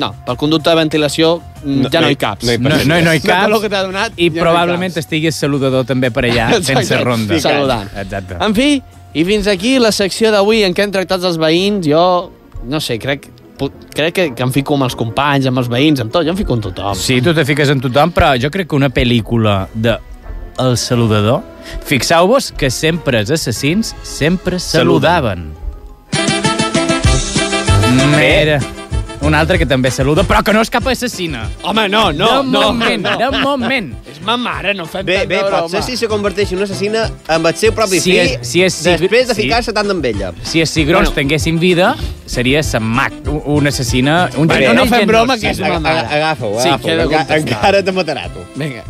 S6: No, pel conducte de ventilació no, ja no hi caps.
S4: No, no, no, hi
S6: De
S4: caps.
S6: [laughs] tot el que t'ha donat,
S4: I
S6: ja no hi
S4: probablicament estigui el saludador també
S6: [laughs]
S4: per allà,
S6: Exacte.
S4: sense ronda.
S6: Saludant.
S4: Exacte.
S6: En fi, i fins aquí la secció d'avui en què hem tractat els veïns. Jo, no sé, crec, pu- crec que, que em fico amb els companys, amb els veïns, amb tot. Jo em fico amb tothom.
S4: Sí, tu te fiques en tothom, però jo crec que una pel·lícula de El saludador, fixeu-vos que sempre els assassins sempre saludaven. Mira, un altre que també saluda, però que no és cap assassina.
S6: Home, no,
S4: de moment, De moment.
S6: És ma mare, no fem
S5: Bé, bé, potser si se converteix en una assassina amb el seu propi
S4: Si
S5: fill
S4: és- si és Sigr-
S5: després de
S4: sí.
S5: ficar-se tant amb ella.
S4: Si els cigrons bueno. tinguessin vida, seria Sammac, un- un assassina... Un
S5: Vale,
S4: un
S5: no fem
S4: ingeniós,
S5: broma,
S4: sí.
S5: que és ma mare. Agafa-ho,
S4: Sí,
S5: agafa-ho,
S4: queda
S5: enca-
S4: contestat.
S5: encara te matarà, tu.
S6: Vinga.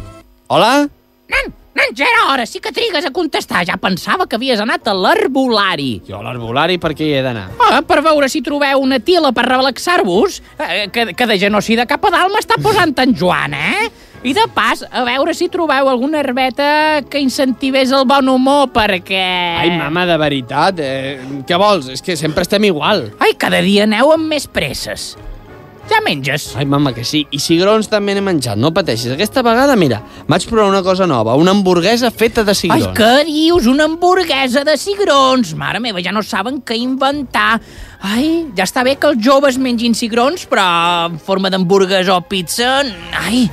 S6: Hola?
S9: Nen, ja era hora, sí que trigues a contestar. Ja pensava que havies anat a l'arbolari.
S6: Jo a l'arbolari per què hi he d'anar?
S9: Ah, per veure si trobeu una tila per relaxar-vos, eh, que, que de genocida cap a dalt m'està posant en Joan, eh? I de pas, a veure si trobeu alguna herbeta que incentivés el bon humor, perquè...
S6: Ai,
S4: Eh.
S6: mama, de veritat, eh, què vols? És que sempre estem igual.
S9: Ai, cada dia aneu amb més presses. Ja menges.
S6: Ai, mama, que sí. I cigrons també n'he menjat, no pateixis. Aquesta vegada, mira, vaig provar una cosa nova, una hamburguesa feta de
S9: Ai,
S6: cigrons.
S9: què dius? Una hamburguesa de cigrons. Mare meva, ja no saben què inventar. Ai, ja està bé que els joves mengin cigrons, però en forma d'hamburguesa o pizza... Ai,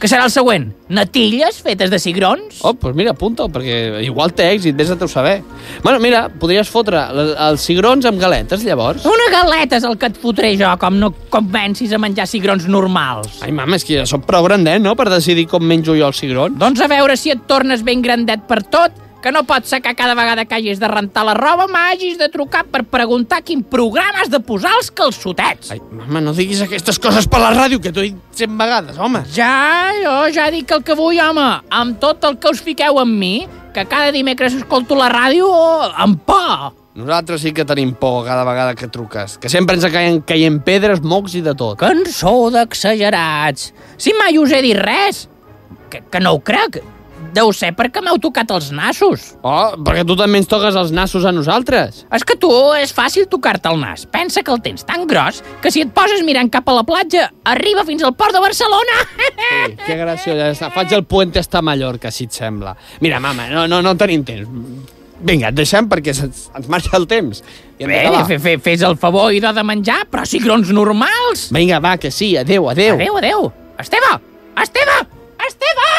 S9: que serà el següent? Natilles fetes de cigrons?
S6: Oh, doncs mira, apunta perquè igual té èxit, vés a teu saber. Bueno, mira, podries fotre les- els cigrons amb galetes, llavors.
S9: Una galeta és el que et fotré jo, com no convencis a menjar cigrons normals.
S6: Ai, mama, és que ja soc prou grandet, no?, per decidir com menjo jo els cigrons.
S9: Doncs a veure si et tornes ben grandet per tot, que no pots secar cada vegada que hagis de rentar la roba, m'hagis de trucar per preguntar quin programa has de posar els calçotets. Ai,
S6: Mama, no diguis aquestes coses per la ràdio, que t'ho he dit 100 vegades, home.
S9: Ja, jo ja dic el que vull, home. Amb tot el que us fiqueu amb mi, que cada dimecres escolto la ràdio amb por.
S6: Nosaltres sí que tenim por cada vegada que truques, que sempre ens caien, caien pedres, mocs i de tot.
S9: Que en sou d'exagerats. Si mai us he dit res. Que, que no ho crec. Deu ser perquè m'heu tocat els nassos.
S6: Oh, perquè tu també ens toques els nassos a nosaltres.
S9: És que tu és fàcil tocar-te el nas. Pensa que el tens tan gros que si et poses mirant cap a la platja, arriba fins al port de Barcelona. [laughs]
S6: Sí, que graciós. ja està. Faig el puente hasta Mallorca, si et sembla. Mira, mama, no, no, no tenim temps. Vinga, et deixem perquè se'ns ens marxa el temps. I hem
S9: Bé,
S6: d'acabar.
S9: fe, fe, fes el favor i de de menjar, però cigrons normals.
S6: Vinga, va, que sí, adeu, adeu.
S9: Adéu, adéu. Esteve! Esteve! Esteve!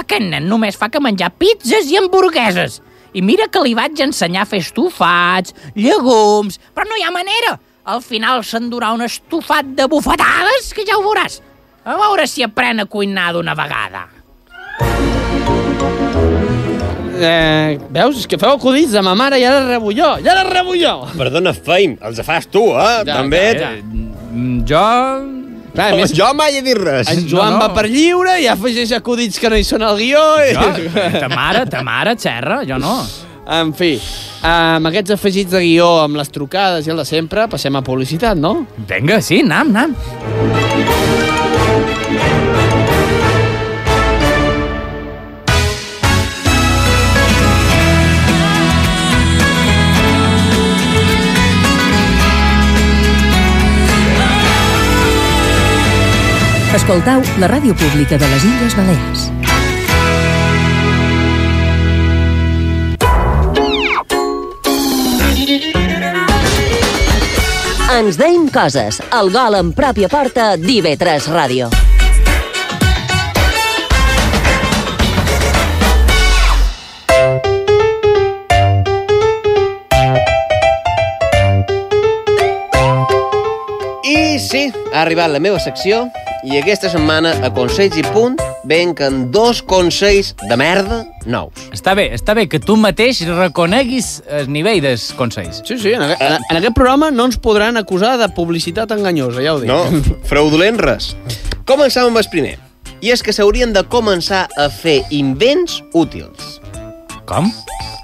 S9: Aquest nen només fa que menjar pizzas i hamburgueses.
S13: I mira que li vaig ensenyar a fer estofats, llegums... Però no hi ha manera. Al final s'endurà un estofat de bufetades que ja ho veuràs. A veure si aprèn a cuinar d'una vegada.
S5: Eh, veus? És que feu acudits de ma mare i ara rebo jo. I ara rebo jo.
S6: Perdona, Feim, els fas tu, eh?
S5: Ja,
S6: També.
S5: ja,
S4: mm, Jo...
S6: Clar,
S5: a més-
S6: jo mai he dit res.
S5: En Joan Oh, no, no. va per lliure i afegeix acudits que no hi són al guió.
S6: [laughs]
S5: I...
S4: Jo? Ta mare, ta mare, xerra, jo no.
S5: En fi, amb aquests afegits de guió, amb les trucades i el de sempre, passem a publicitat, no?
S4: Vinga, sí, anam, anam.
S14: Escoltau la ràdio pública de les Illes Balears.
S3: Ens deim coses. El gol en pròpia porta d'IV3 Ràdio.
S6: I sí, ha arribat la meva secció i aquesta setmana a Consells i Punt venquen dos consells de merda nous.
S4: Està bé, està bé que tu mateix reconeguis el nivell dels consells.
S5: Sí, sí, en, aqu-
S6: Eh?
S5: en, en aquest programa no ens podran acusar de publicitat enganyosa, ja ho dic.
S6: No, fraudulent res. Començam amb el primer. I és que s'haurien de començar a fer invents útils.
S4: Com?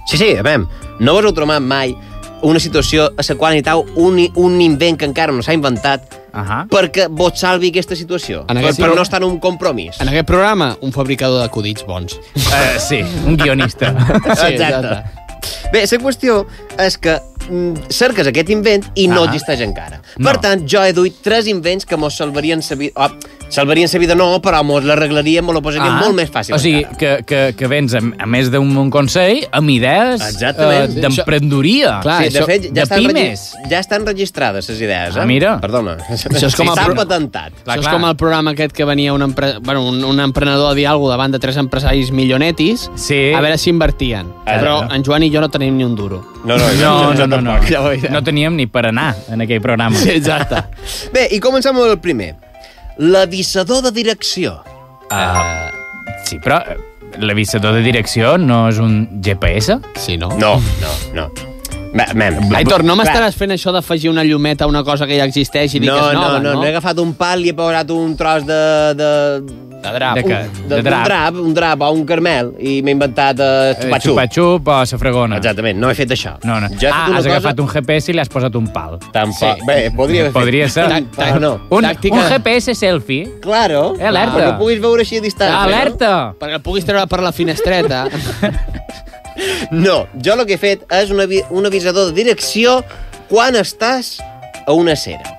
S6: Sí, sí, a veure, no vos heu trobat mai una situació a la qual necessitau un, i- un invent que encara no s'ha inventat
S4: uh -huh.
S6: perquè vos salvi aquesta situació,
S5: En
S6: per,
S5: aquest
S6: per
S5: pro-
S6: no estar en un compromís.
S5: En aquest programa, un fabricador d'acudits bons.
S4: Uh, sí, un
S6: [laughs]
S4: guionista.
S6: Sí, exacte. Bé, la qüestió és que mm, cerques aquest invent i no
S4: Ah.
S6: existeix encara. Per tant, jo he duit tres invents que mos salvarien la vida... Oh, salvarien la vida no, però mos l'arreglarien, mos la posarien
S5: Ah.
S6: molt més fàcil.
S4: Ah. O sigui, que, que, que vens, a, a més d'un bon consell, amb idees
S6: Exactament.
S4: eh, d'emprenedoria.
S5: ah,
S6: sí, de fet, ja
S4: de
S6: estan,
S4: pimes.
S6: regi- ja estan registrades les idees, eh?
S4: Ah, mira.
S6: Perdona.
S5: Això és com a
S6: S'ha
S5: pro-
S6: patentat.
S5: Això és com el programa aquest que venia un, empre... bueno, un, un emprenedor a dir alguna cosa davant de tres empresaris milionetis
S4: sí.
S5: a veure si invertien.
S4: Ah,
S5: Però
S4: no.
S5: en Joan i jo Eh, no tenim ni un duro.
S4: no, no, no, no, no. no teníem ni per anar en aquell programa.
S5: [laughs] Sí, exacte.
S6: Bé, i comencem amb el primer. L'avissador de direcció.
S4: Uh, sí, però eh, l'avisador de direcció no és un GPS?
S5: Sí, no?
S6: No, no, no. Mem.
S5: Aitor, no
S6: Clar.
S5: m'estaràs fent això d'afegir una llumeta a una cosa que ja existeix i dir que
S6: No,
S5: és nova,
S6: no, no, no, he agafat un pal i he posat un tros de... De,
S5: de drap.
S4: De què?
S6: Un,
S4: De
S6: de,
S4: drap.
S6: Un drap, un drap o un carmel i m'he inventat eh, xupa-xup.
S4: Xupa-xup o safragona.
S6: Exactament, no he fet això.
S4: No, no.
S6: Jo he fet
S4: ah,
S6: una
S4: has
S6: cosa-
S4: agafat un GPS i l'has posat un pal.
S6: Tampoc. Bé, podria haver fet.
S4: Podria ser.
S6: Tac, tac. Però no.
S4: Un,
S6: Tàctica-
S4: un GPS selfie.
S6: Claro.
S4: Eh, alerta.
S6: Perquè ho puguis veure així a distància.
S4: Alerta.
S5: Perquè el puguis treure per la finestreta.
S6: [laughs] No, jo el que he fet és un, avi un avisador de direcció quan estàs a una cera.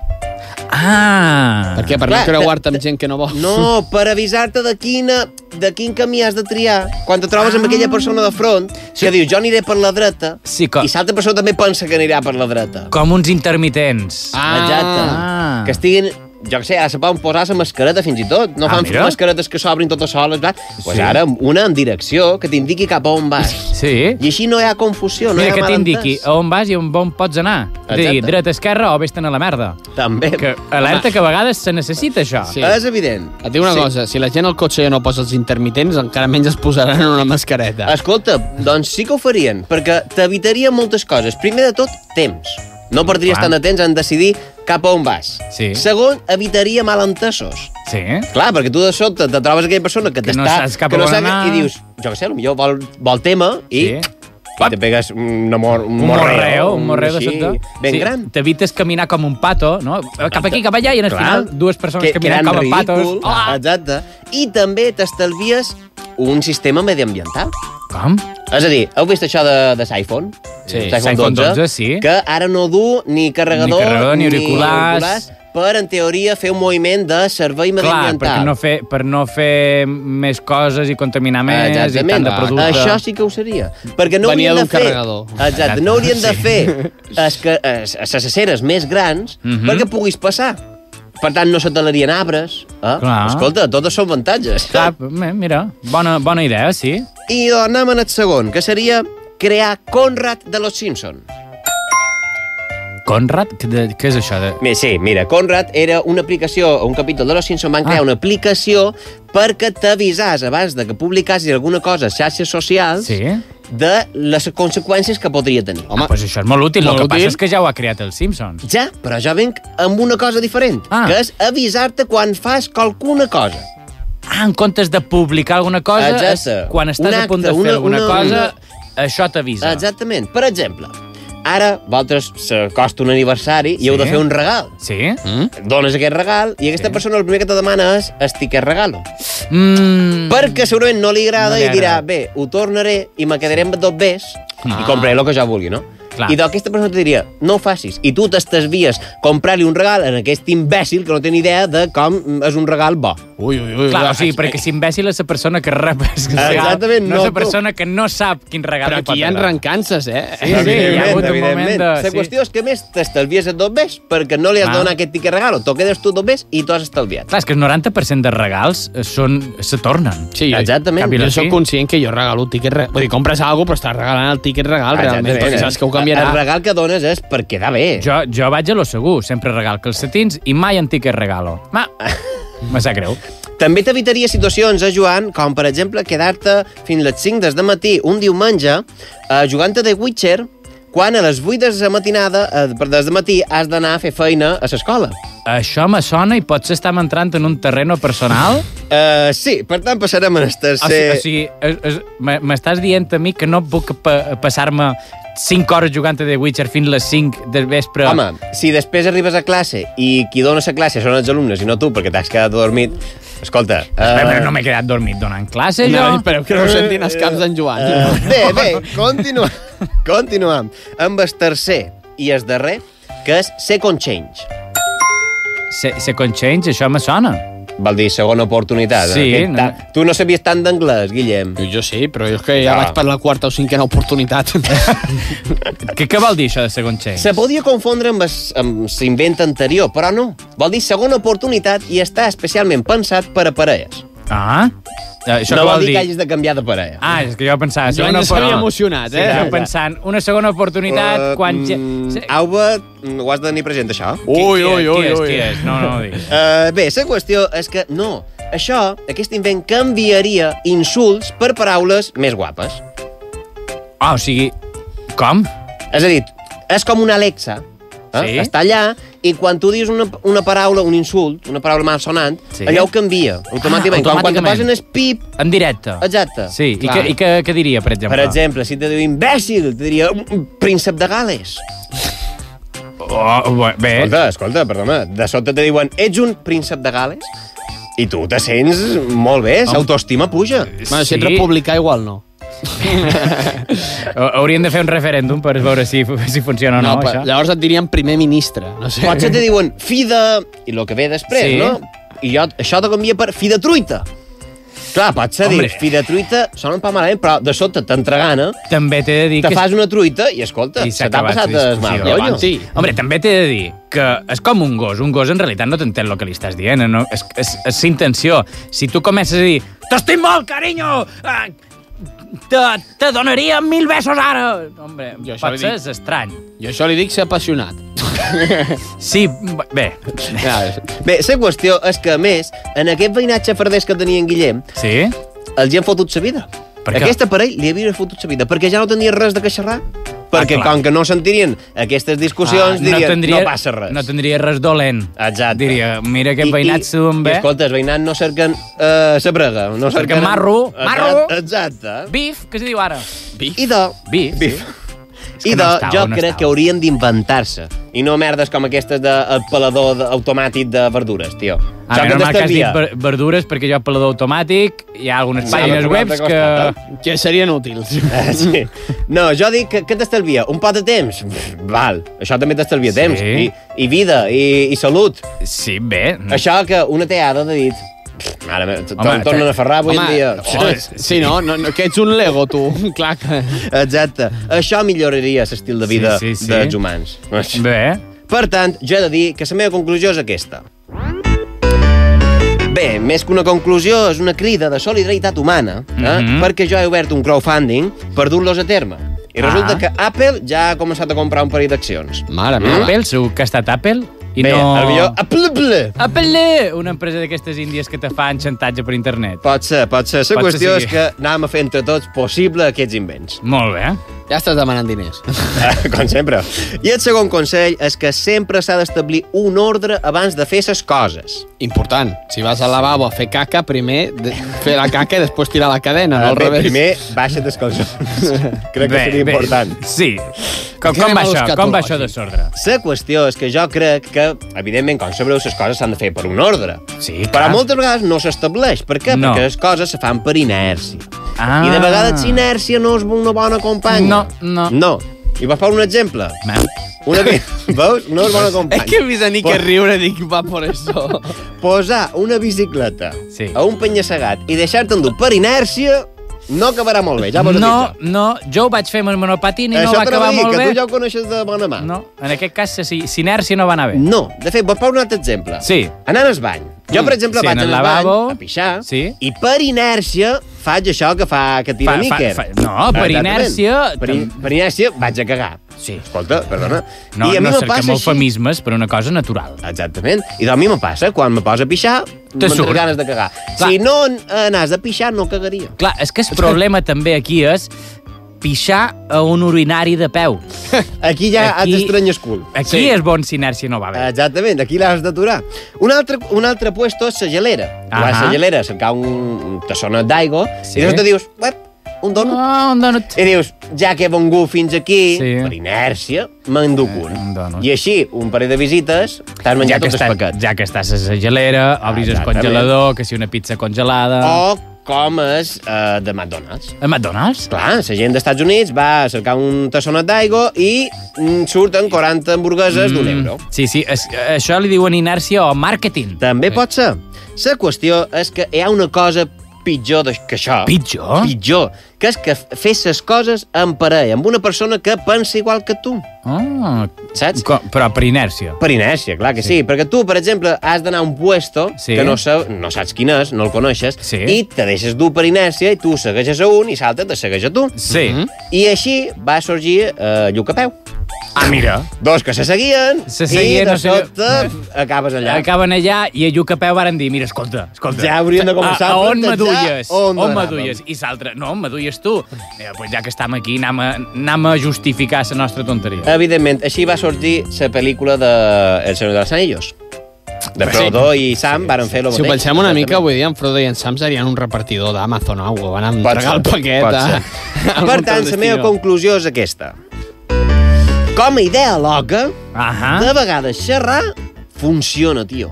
S4: Ah!
S5: Per què? Per
S6: Clar,
S5: no creuar-te amb gent que no vols.
S6: No, per avisar-te de quina de quin camí has de triar quan te trobes amb aquella persona de front que diu, jo aniré per la dreta
S4: Ah. Sí, com,
S6: i l'altra persona també pensa que anirà per la dreta.
S4: com uns intermitents.
S6: Ah. Exacte. Que estiguin jo què sé, ara se poden posar la mascareta fins i tot. No
S4: Ah,
S6: fan
S4: mira.
S6: mascaretes que s'obrin totes soles, va? Pues
S4: Sí.
S6: ara una en direcció que t'indiqui cap a on vas.
S4: Sí.
S6: I així no hi ha confusió, no
S4: Mira,
S6: hi ha
S4: que
S6: malentès.
S4: t'indiqui a on vas i on, on pots anar. És a dir,
S6: Exacte.
S4: dreta, esquerra o vés-te'n a la merda.
S6: També.
S4: Oh, Que, alerta, que a vegades se necessita això.
S5: Sí. És
S6: evident.
S5: Et dic una
S4: Sí.
S5: sí. cosa, si la gent al cotxe ja no posa els intermitents, encara menys es posaran una mascareta.
S6: Escolta, doncs sí que ho farien, perquè t'evitaria moltes coses. Primer de tot, temps. No perdries
S5: Clar.
S6: tant de temps en decidir cap a on vas.
S4: Sí.
S6: Segon, evitaria malentesos.
S4: Sí.
S6: Clar, perquè tu de sobte te trobes aquella persona que,
S4: Que no
S6: t'està...
S4: saps cap
S6: que
S4: on
S6: saps-
S4: anar.
S6: I dius, jo què sé, potser vol, vol tema i... Sí. I te pegues un, amor, un,
S4: Un morreo,
S6: morreo,
S4: un morreo de
S6: així,
S4: sobte.
S6: Ben gran.
S4: T'evites caminar com un pato, no? Cap aquí, cap allà, i en el
S6: Clar.
S4: final dues persones
S6: Que-
S4: caminant
S6: quedant
S4: com a patos. Ah,
S6: ridícul. Exacte. I també t'estalvies un sistema mediambiental.
S4: Com?
S6: És a dir, heu vist això de, de s'iPhone?
S4: Sí, s'iPhone 12, sí.
S6: Que ara no du ni carregador,
S4: Ni carregador, ni auriculars.
S6: per, en teoria, fer un moviment de servei
S4: Clar,
S6: mediambiental.
S4: perquè no fer, per no fer més coses i contaminar més i tant de producte.
S6: Eh, Ah, Això sí que ho seria. Perquè no
S4: Venia
S6: haurien de
S4: d'un
S6: fer...
S4: carregador.
S6: Exacte, no haurien de
S4: Sí. [laughs]
S6: fer es, que, es, es, les aceres més grans
S4: Mhm.
S6: perquè puguis passar. Per tant, no s'atalarien arbres. Eh?
S4: Clar.
S6: Escolta, totes són avantatges.
S4: Clar, mira, bona, bona idea, sí.
S6: I doncs, anem al segon, que seria crear Conrad de los Simpson.
S4: Conrad? Què, de, què és això? De...
S6: Mira, sí, mira, Conrad era una aplicació, un capítol de Los Simpson van crear ah. una aplicació perquè t'avisàs abans de que publicassis alguna cosa a xarxes socials sí. de les conseqüències que podria tenir.
S4: Home, ah, pues això és molt útil.
S6: molt
S4: el que
S6: útil.
S4: passa és que ja ho ha creat el Simpson.
S6: Ja, però jo venc amb una cosa diferent, ah. que és avisar-te quan fas qualcuna cosa.
S4: Ah, en comptes de publicar alguna cosa,
S6: Exacte.
S4: és quan estàs
S6: Un
S4: a punt de
S6: acte,
S4: fer
S6: una-
S4: alguna
S6: una-
S4: cosa,
S6: una-
S4: això t'avisa.
S6: Exactament. Per exemple, ara vosaltres s'acosta un aniversari i
S4: Sí. Hm?
S6: heu de fer un regal.
S4: Sí.
S6: Mm? Dones aquest regal i aquesta sí. persona el primer que te demana és estic que regalo.
S4: Mm.
S6: Perquè segurament no li
S4: No
S6: agrada no
S4: li
S6: i dirà,
S4: agrada.
S6: bé, ho tornaré i me quedaré amb dos bes ah.
S4: Ah.
S6: i compraré el que jo vulgui, no?
S4: Clar.
S6: I doncs aquesta persona et diria, no ho facis. I tu t'estalvies comprar-li un regal a aquest imbècil que no té ni idea de com és un regal bo.
S5: Ui, ui,
S4: Clar, o sigui, perquè si imbècil és la persona que rep el regal, no
S6: Exactament,
S4: és
S6: no
S4: la
S6: tu.
S4: persona que no sap quin regal
S5: Però
S4: li pot
S5: aquí hi ha
S4: agradar.
S5: rencances, eh?
S4: Sí, sí, hi ha hagut un moment de...
S6: La
S4: Sí.
S6: qüestió és que, a més, t'estalvies a dos bes perquè no li has
S4: Ah.
S6: de donar aquest tiquet regalo. Tu quedes tu dos bes i tu has estalviat.
S4: Clar, és que el 90% dels regals eh, són, se tornen.
S5: Sí,
S6: Exactament.
S5: Jo sóc conscient que jo regalo el tiquet... Re... Vull dir, compres alguna però estàs regalant el tiquet regal, realment, perquè saps que ho canviarà.
S6: El regal que dones és per quedar bé.
S4: Jo, jo vaig a lo segur, sempre regal calcetins i mai en tiquet regalo.
S6: [laughs]
S4: Ma... Me sap greu.
S6: També t'evitaria situacions, eh, Joan, com per exemple quedar-te fins les 5 des de matí un diumenge eh, jugant a The Witcher quan a les 8 des de matinada, eh, per des de matí has d'anar a fer feina a l'escola.
S4: Això me sona i potser estem entrant en un terreno personal.
S6: Uh, sí, per tant passarem
S5: Ah,
S6: al tercer...
S4: O sigui, o sigui és- és- m- m'estàs dient a mi que no puc pa passar-me 5 hores jugant a The Witcher fins les 5 del vespre.
S6: Home, si després arribes a classe i qui dona la classe són els alumnes i no tu perquè t'has quedat adormit, escolta... Uh...
S4: Espera, però no m'he quedat dormit donant classe, jo.
S6: No, espereu que no ho sentin els caps
S5: d'en Joan.
S6: Uh, bé, bé, [laughs] continuem. continuem amb el tercer i el darrer, que és Second Change.
S4: Se, second Change, això me sona.
S6: Vol dir segona oportunitat.
S4: Sí,
S6: Aquest
S4: no.
S6: ta- Tu no sabies tant d'anglès, Guillem.
S5: Jo sí, però jo és que ja vaig per la quarta o cinquena oportunitat.
S4: Què, què vol dir això de Second Change?
S6: Se podia confondre amb es- amb l'invent anterior, però no. Vol dir segona oportunitat i està especialment pensat per a parelles.
S4: Ah? Això
S6: no
S4: què
S6: vol
S4: vol
S6: dir
S4: dir?
S6: que hagis de canviar de parella.
S4: Ah, és que jo pensava...
S6: En Joan
S4: segona
S6: ja s'havia
S4: opor-
S6: emocionat, eh?
S4: Sí,
S6: Ja,
S4: jo
S6: ja.
S4: pensant, una segona oportunitat,
S6: Eh,
S4: quan... ja-
S6: Mm, Alba, mm, ho has de tenir present, això.
S4: Ui, ui, ui, Qui és, qui és, ui. qui és? No, no ho diguis.
S6: Uh, bé, la qüestió és que no, això, aquest invent canviaria insults per paraules més guapes.
S4: Ah, o sigui, com?
S6: És a dir, és com una Alexa. Eh?
S4: Sí?
S6: Està allà i quan tu dius una, una paraula, un insult, una paraula malsonant,
S4: Sí.
S6: sí? allò ho canvia automàticament.
S4: Ah,
S6: Quan- Quan te
S4: automàticament.
S6: posen el pip...
S4: En directe.
S6: Exacte.
S4: Sí, i,
S6: Ah, Clar.
S4: què, i què, què diria, per exemple?
S6: Per exemple, si te diu imbècil, te diria "Mm, príncep de Gales.
S4: Oh, bé.
S5: Eh?
S6: Escolta, escolta, perdona, de sobte te diuen ets un príncep de Gales i tu te sents molt bé, l'autoestima puja.
S5: Bueno, si ets republicà, igual no.
S4: Ha- Hauríem de fer un referèndum per veure si, si funciona o no,
S5: No, però
S4: això.
S5: llavors et dirien primer ministre. No sé.
S6: Potser te diuen fi de... i el que ve després,
S5: Sí.
S6: no? I jo, això te canvia per fi de truita. Clar, potser
S4: Hombre.
S6: dir fi de truita sona pas malament, però de sobte t'entregana,
S4: També t'he de dir
S6: te
S4: que...
S6: fas una truita i escolta,
S4: I s'ha
S6: se t'ha
S4: acabat
S6: passat
S4: la
S6: el mal
S4: discussió.
S6: rotllo.
S4: Sí. Hombre, també t'he de dir que és com un gos. Un gos en realitat no t'entén el que li estàs dient. No? És, és, és intenció. Si tu comences a dir t'estim molt, carinyo! Ah, Te, te donaria mil besos ara! Hombre,
S5: Jo això li
S4: potser
S5: dic-
S4: és estrany.
S5: Jo això li dic ser
S6: [laughs]
S5: apassionat.
S4: Sí, bé.
S6: Bé, la qüestió és que, a més, en aquest veïnatge farders que tenia en Guillem,
S4: sí?
S6: els hi han fotut sa vida.
S4: Per què?
S6: Aquest aparell li havia fotut sa vida, perquè ja no tenia res de què xerrar.
S4: Ah,
S6: Perquè
S4: clar.
S6: com que no sentirien aquestes discussions, dirien, no, passa res.
S4: Ah, No tindria res dolent.
S6: Exacte.
S4: Diria, mira aquest veïnat s'ho en
S6: I,
S4: bé.
S6: escolta, els veïnats no cerquen eh, sa brega. No
S4: Cerquen
S6: cerquen
S4: marro,
S6: Exacte,
S4: marro.
S6: Exacte.
S4: Bif, què es diu ara?
S6: Bif. I de...
S4: Bif.
S6: Bif.
S4: que
S6: I de,
S4: no estava,
S6: jo
S4: no
S6: crec
S4: estava.
S6: que haurien d'inventar-se. I no merdes com aquestes del pelador de- automàtic de verdures, tio.
S4: A
S6: Això
S4: mi normal que has
S6: t'estalvia.
S4: dit ver- verdures perquè jo pelador automàtic hi ha algunes
S6: Sí,
S4: pàgines
S6: no, no,
S4: web
S6: no, no,
S4: que...
S6: no,
S5: Que serien útils.
S6: Eh, [laughs] sí. No, jo dic que, que t'estalvia un pot de temps. Pff, Val, això també t'estalvia temps. I, I vida, i, i salut.
S4: Sí, bé.
S6: Això que una teada de dit... pff, Mare meva, to- to- tornen a ferrar avui
S5: Mm. home,
S6: en dia. Oh,
S5: Home, sí, no? no, no que ets un Lego, tu. Clar que...
S6: Exacte. Això milloraria l'estil de vida
S5: Sí, sí, sí.
S6: dels humans.
S4: Bé.
S6: Per tant, jo he de dir que la meva conclusió és aquesta. Bé, més que una conclusió, és una crida de solidaritat humana, eh?
S4: Mhm.
S6: perquè jo he obert un crowdfunding per dur-los a terme. I
S4: Ah.
S6: resulta que Apple ja ha començat a comprar un parell d'accions. Mm?
S5: Mare
S6: meva.
S4: Apple, segur que ha estat Apple. I
S6: Bé,
S4: no...
S6: el millor Apple, Apple.
S4: Apple, una empresa d'aquestes índies que te fan xantatge per internet.
S6: Pot ser, pot ser. La
S4: Pot ser,
S6: qüestió
S4: sí.
S6: és que anàvem a fer entre tots possible aquests invents. Eh,
S4: Molt bé.
S5: Ja estàs demanant
S6: [laughs]
S5: diners.
S6: Com sempre. I el segon consell és que sempre s'ha d'establir un ordre abans de fer les coses.
S5: Important. Si vas al lavabo a fer caca, primer de- fer la caca i després tirar la cadena, no al
S6: Eh, Bé,
S5: revés.
S6: primer, baixa dels
S5: [laughs]
S6: calçons. Crec que
S5: Bé,
S6: seria
S5: bé.
S6: important.
S4: Sí. Com, com va això? Com va això desordre?
S6: La qüestió és que jo crec que, evidentment, com sabreu, les coses s'han de fer per un ordre.
S4: Sí,
S6: Però
S4: clar.
S6: moltes vegades no s'estableix. Per què?
S4: Ah. No.
S6: Perquè les coses se fan per inèrcia.
S4: Ah.
S6: I de vegades inèrcia no és una bona companya.
S4: No, no.
S6: No. I vas per un exemple. Una vi... [laughs] Veus? No
S4: [laughs]
S6: és bona companya.
S5: És que he vist a Nick a riure i dic, va por eso.
S6: Posar una bicicleta sí. a un penya-segat i deixar-te endur per inèrcia no acabarà molt bé. Ja vos ho
S4: no,
S6: dic
S4: no, jo ho vaig fer amb el monopatí i no
S6: Això
S4: va acabar
S6: t'anava a dir,
S4: molt
S6: que
S4: bé.
S6: tu ja ho coneixes de bona mà.
S4: No, en aquest cas, si, si inèrcia no va anar bé.
S6: No, de fet, vos posar un altre exemple.
S4: Sí.
S6: Anant al bany. Jo, per exemple,
S4: sí,
S6: vaig
S4: en el
S6: al bany
S4: lavabo,
S6: a pixar
S4: sí.
S6: i per inèrcia faig això que fa que tira
S4: Fa- fa-
S6: níquer.
S4: fa- no, per
S6: Exactament.
S4: inèrcia-
S6: Per, in- per inèrcia vaig a cagar. Sí. Escolta, perdona.
S4: No,
S6: I a mi
S4: no
S6: me
S4: cerquem
S6: passa així.
S4: eufemismes per una cosa natural.
S6: Exactament. I doncs a mi me passa, quan me posa a pixar,
S4: Te
S6: me'n
S4: surt.
S6: ganes de cagar.
S4: Clar.
S6: Si no anàs a pixar, no cagaria.
S4: Clar, és que el problema també aquí és pixar a un urinari de peu.
S6: Aquí ja Aquí... has d'estranyar el cul.
S4: Aquí sí. és bon si inèrcia no va bé.
S6: Exactament, aquí l'has d'aturar. Un altre, un altre puesto és la gelera. Tu vas a
S4: Ahà.
S6: la gelera a cercar un, un tassonet d'aigua
S4: Sí.
S6: sí. i llavors te dius, uep, un donut.
S4: Ah, un donut.
S6: I dius, ja que he vengut fins aquí,
S4: Sí.
S6: sí. per inèrcia, m'enduc un.
S4: donut.
S6: I així, un parell de visites,
S4: Ja
S6: t'has menjat
S4: que,
S6: tot el
S4: estàs,
S6: paquet.
S4: ja que estàs a la gelera, obris el
S6: Exactament. Oh.
S4: congelador, que si una pizza congelada...
S6: O com és eh, de McDonald's.
S4: A McDonald's?
S6: Clar, la gent dels Estats Units va a cercar un tassonet d'aigua i mm, surten 40 hamburgueses mm. d'un euro.
S4: Sí, sí, es, això li diuen inèrcia o màrqueting.
S6: També pot ser. La qüestió és que hi ha una cosa pitjor de- que això.
S4: Pitjor?
S6: Pitjor. Que és que fer les coses en parell, amb una persona que pensa igual que tu.
S4: Ah,
S6: Saps?
S4: Com, però per inèrcia.
S6: Per inèrcia, clar que sí. sí. Perquè tu, per exemple, has d'anar a un puesto
S4: Sí.
S6: sí. que no, sa no saps quin és, no el coneixes, sí. i te deixes dur per inèrcia i tu segueixes a un i l'altre te segueix a tu.
S4: Sí. Mm -hmm.
S6: I així va sorgir eh, Llucapeu.
S4: Ah, mira.
S6: Dos que se seguien,
S4: Se seguien,
S6: i de
S4: no sé- eh,
S6: sobte acabes allà.
S4: Acaben allà i a Llucapeu varen dir, mira, escolta, escolta.
S6: Ja hauríem de
S4: a,
S6: començar a
S4: a on
S5: eh?
S6: plantejar
S4: m'adulles?
S6: on
S4: On, on
S6: anàvem.
S4: m'adulles? I s'altre, no, m'adulles tu. Eh, pues ja que estem aquí, anem a, anem a justificar la nostra tonteria.
S5: Eh.
S6: Evidentment, així va sortir la pel·lícula de El Senyor dels Anillos. De
S5: Sí.
S6: Frodo i Sam varen fer el
S5: Si ho
S6: mateix.
S5: pensem una mica, avui dia en Frodo i en Sam serien un repartidor d'Amazon o alguna cosa. Van a entregar el paquet
S6: Pot
S5: a...
S6: ser.
S5: [laughs] a algun
S6: Per tant, la
S5: destí,
S6: meva
S5: no?
S6: conclusió és aquesta. Com a idea loca,
S5: Ah.
S6: de vegades xerrar funciona, tio.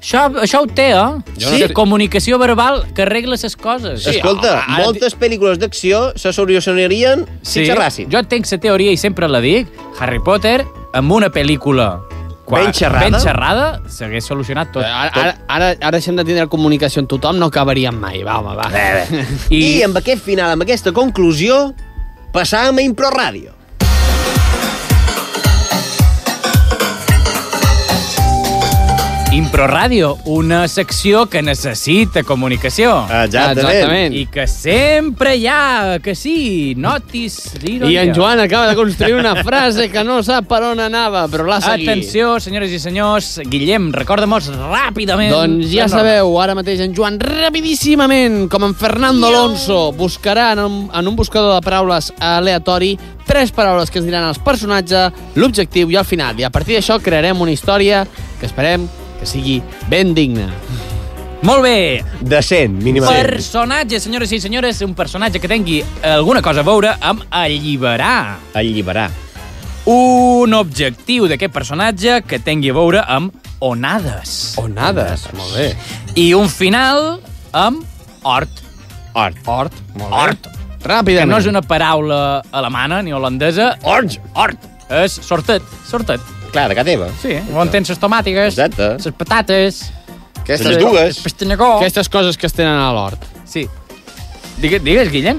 S4: Això, això ho té, eh?
S6: Jo no sé.
S4: Sí. Comunicació verbal que arregla les coses.
S6: Escolta,
S4: Ah, ara-
S6: moltes pel·lícules d'acció se solucionarien si xerrassin.
S4: Jo tinc la teoria i sempre la dic. Harry Potter, amb una pel·lícula quan-
S5: Ben xerrada. Eh,
S4: ben xerrada s'hagués solucionat tot.
S5: Ara, ara, ara, ara deixem de tindre comunicació amb tothom, no acabaríem mai. Va, home, va.
S6: Bé, bé. I... I amb aquest final, amb aquesta conclusió, passàvem a Impro Ràdio.
S4: Impro Ràdio, una secció que necessita comunicació.
S5: Eh.
S6: Exactament. Exactament.
S4: I que sempre hi ha, que sí, notis
S5: I en Joan acaba de construir una frase que no sap per on anava, però l'ha seguit.
S4: Atenció, senyores i senyors, Guillem, recorda-mos ràpidament.
S5: Doncs ja sabeu, ara mateix en Joan rapidíssimament, com en Fernando Alonso, buscarà en un, en un buscador de paraules aleatori tres paraules que ens diran els personatge, l'objectiu i el final. I a partir d'això crearem una història que esperem que sigui ben digna.
S4: Molt bé.
S6: Decent, mínimament.
S4: Personatge, senyores i senyores, un personatge que tingui alguna cosa a veure amb alliberar.
S6: Alliberar.
S4: Un objectiu d'aquest personatge que tingui a veure amb onades.
S5: Onades, molt bé.
S4: I un final amb hort.
S6: Hort.
S5: Hort,
S4: bé.
S5: molt
S4: Hort. Que
S5: Ràpidament.
S4: no és una paraula alemana ni holandesa.
S6: Hort.
S4: Hort. És sortet, sortet.
S6: Clar, de casa teva.
S4: Sí, on tens les tomàtiques,
S6: Exacte.
S4: les patates...
S6: Aquestes dues.
S4: El pastanyacó...
S5: Aquestes coses que es tenen a l'hort.
S4: Sí. Digues, digues Guillem.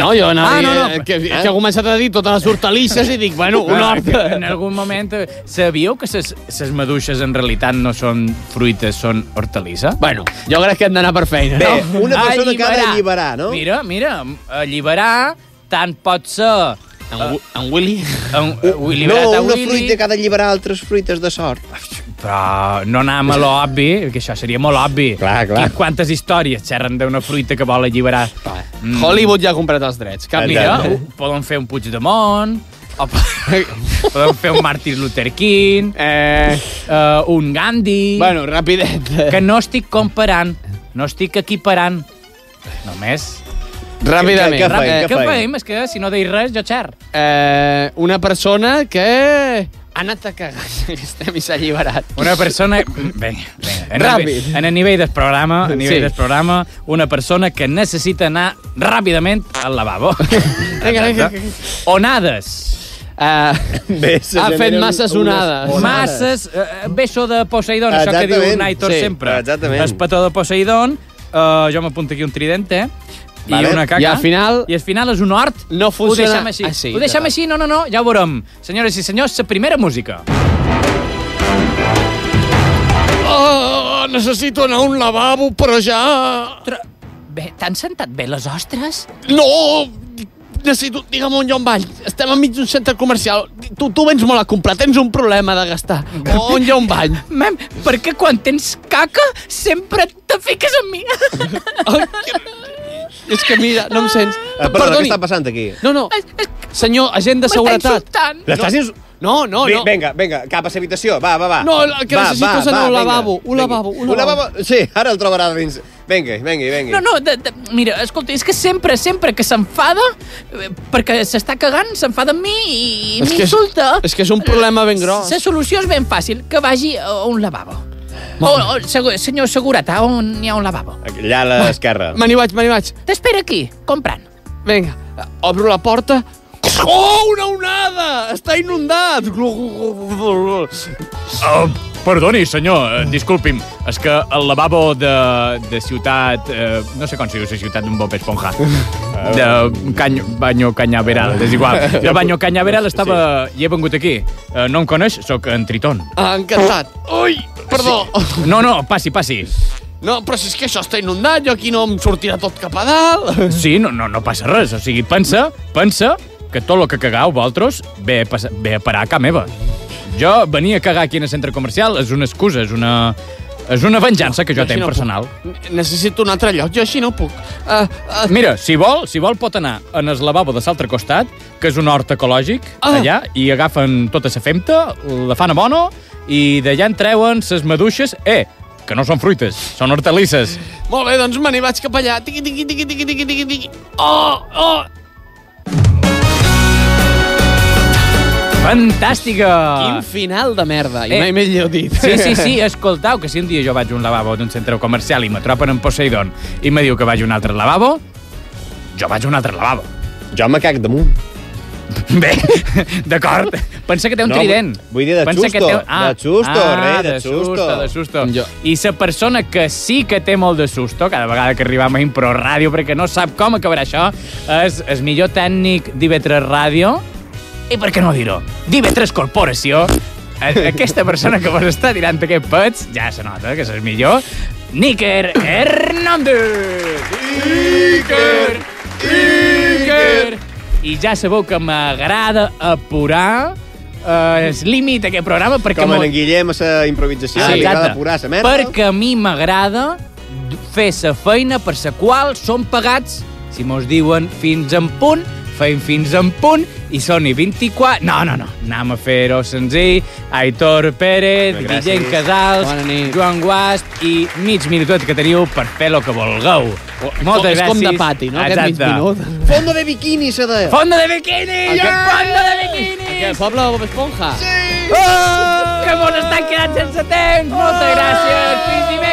S5: No, jo anava
S4: Ah, no, no.
S5: a dir, eh, que, eh? que ha començat a dir totes les hortalisses i dic, bueno, un
S4: Ah,
S5: hort.
S4: que En algun moment... eh, Sabíeu que ses, ses maduixes en realitat no són fruites, són hortalissa?
S5: Bueno, jo crec que hem d'anar per feina,
S4: Bé,
S5: no?
S4: una persona que ha
S6: d'alliberar, no?
S4: Mira, mira, alliberar tant pot ser eh,
S6: En, en Willy?
S4: En, Willy
S5: no,
S4: Beata,
S5: una
S4: Willy.
S5: fruita que ha d'alliberar altres fruites de sort. Eh,
S4: Però no anar amb l'obvi, que això seria molt obvi. Clar, clar. I quantes històries xerren d'una fruita que vol alliberar. Mm.
S6: Hollywood ja ha comprat els drets. Cap
S4: Mira,
S6: Mira,
S4: ho- poden fer un Puigdemont, o
S6: [laughs]
S4: po- poden fer un Martin Luther King, eh... Uh, un Gandhi...
S6: Bueno, rapidet.
S4: Que no estic comparant, no estic equiparant. Només...
S6: Ràpidament.
S4: Què, què, què,
S6: Eh,
S4: què, què feim? És que si no deis res, jo xer.
S6: Eh, una persona que ha anat a cagar aquesta i s'ha alliberat.
S4: Una persona... Vinga, vinga. En
S6: Ràpid.
S4: El, en el nivell del programa, a nivell
S6: Sí.
S4: sí. del programa, una persona que necessita anar ràpidament al lavabo.
S6: [laughs] Vinga, vinga, vinga.
S4: Onades.
S6: Uh,
S4: Bé,
S6: se ha fet generen masses unes onades. onades.
S4: Masses... Uh, beso de Poseidon, això que diu
S6: Exactament.
S4: Naitor
S6: Sí,
S4: sempre.
S6: exactament.
S4: El petó de Poseidon. Uh, jo m'apunto aquí un tridente. eh, I
S6: Vale.
S4: una caca.
S6: I al final-
S4: I al final és un hort.
S6: No
S4: Ho
S6: funciona Ah,
S4: deixem així.
S6: així,
S4: Ho deixem així? No, no, no, ja ho veurem. Senyores i senyors, la primera música.
S6: Oh, necessito anar a un lavabo, però ja...
S15: Bé, t'han sentat bé les ostres?
S6: No! Necessito... Digue'm on jo em vaig. Estem enmig d'un centre comercial. Tu, tu vens molt a comprar, tens un problema de gastar. On jo em vaig?
S15: Mem, per què quan tens caca sempre te fiques amb mi? [laughs]
S5: [laughs]
S6: És que mira, no em sents.
S5: Eh, perdona, què està passant aquí?
S6: No, no. Senyor, agent de
S5: M'està
S6: seguretat.
S5: insultant. L'estàs ins-
S6: No, no,
S5: Bé,
S6: no.
S5: Vinga, vinga, cap a la habitació, va, va, va.
S6: No, el que
S5: va,
S6: necessito
S5: va,
S6: és anar
S5: va,
S6: a un
S5: vinga.
S6: lavabo, un lavabo, un
S5: Un
S6: lavabo.
S5: lavabo, sí, ara el trobarà dins. Vinga, vinga, vinga.
S15: No, no, de, de, mira, escolta, és que sempre, sempre que s'enfada, eh, perquè s'està cagant, s'enfada amb mi i
S6: És que és-
S15: m'insulta.
S6: és que és un problema ben gros.
S15: La solució és ben fàcil, que vagi a un lavabo. O, o, segur, senyor Segurata, on hi ha un lavabo?
S5: Allà a l'esquerra.
S6: Me n'hi vaig, me n'hi vaig.
S15: T'espera aquí, comprant.
S6: Vinga, obro la porta. Oh, una onada! Està inundat!
S4: Uh, perdoni, senyor, eh, disculpi'm. És que el lavabo de, de ciutat... Eh, no sé com se diu la ciutat d'un Bob Esponja. De canyo, Banyo Canyaveral, és igual. De Banyo Canyaveral estava... I he vengut aquí. Eh, no em coneix? Sóc en Triton.
S6: Ah, encantat. Ui, perdó.
S4: No, no, passi, passi.
S6: No, però si és que això està inundat, jo aquí no em sortirà tot cap a dalt.
S4: Sí, no, no, no passa res. O sigui, pensa, pensa que tot el que cagau vosaltres ve, a passa- ve a parar a casa meva. Jo venir a cagar aquí en el centre comercial és una excusa, és una... És una venjança que jo
S6: Jo així
S4: tenc
S6: no puc.
S4: personal.
S6: Necessito un altre lloc, jo així no puc. Uh, uh,
S4: Mira, si vol, si vol pot anar en el lavabo de l'altre costat, que és un hort ecològic, ah. allà, i agafen tota la femta, la fan a bono, i d'allà en treuen les maduixes. Eh, que no són fruites, són hortalisses.
S6: Molt bé, doncs me n'hi vaig cap allà. Tiqui, tiqui, tiqui, tiqui, tiqui, tiqui, tiqui. Oh, oh!
S4: Fantàstica!
S6: Quin final de merda, i
S4: Eh.
S6: mai més millor dit.
S4: Sí, sí,
S6: [laughs]
S4: sí, escoltau, que si un dia jo vaig a un lavabo d'un centre comercial i m'atropen en Poseidon i me diu que vaig a un altre lavabo, jo vaig a un altre lavabo.
S5: Jo me cac damunt.
S4: [laughs] Bé, d'acord. Pensa que té un
S5: No,
S4: trident.
S5: vull- vull dir de
S4: Pensa
S5: susto, de susto,
S4: ah,
S5: rei, de susto.
S4: de susto. I la persona que sí que té molt de susto, cada vegada que arribam a Impro Ràdio, perquè no sap com acabarà això, és el millor tècnic d'IV3 Ràdio, i per què no dir-ho? d'IV3 Corporació, A- aquesta persona que vos està tirant aquest pets, ja se nota que és el millor, Níker Hernández! Iker! Iker! I ja sabeu que m'agrada apurar eh, el límit d'aquest programa perquè...
S5: Com en
S4: m'ho-
S5: en Guillem a la improvisació,
S4: Ah,
S5: li
S4: exacte.
S5: agrada apurar la merda.
S4: Perquè a mi m'agrada fer la feina per la qual són pagats, si mos diuen fins en punt, feim fins en punt, i són i 24... No, no, no, anem a fer-ho senzill. Aitor Pérez,
S6: Gràcies.
S4: Guillem Casals, Joan Guasp i mig minutet que teniu per fer el que vulgueu. Moltes
S6: és
S4: gràcies.
S6: com de pati, no? Aquest mig minut.
S5: Fondo de biquini, se deia.
S4: Fondo de biquini!
S5: Aquest...
S15: Banda de biquinis!
S6: Aquest poble de Bob Esponja.
S15: Oh! Que mos estan quedant sense temps! Moltes gràcies! Fins i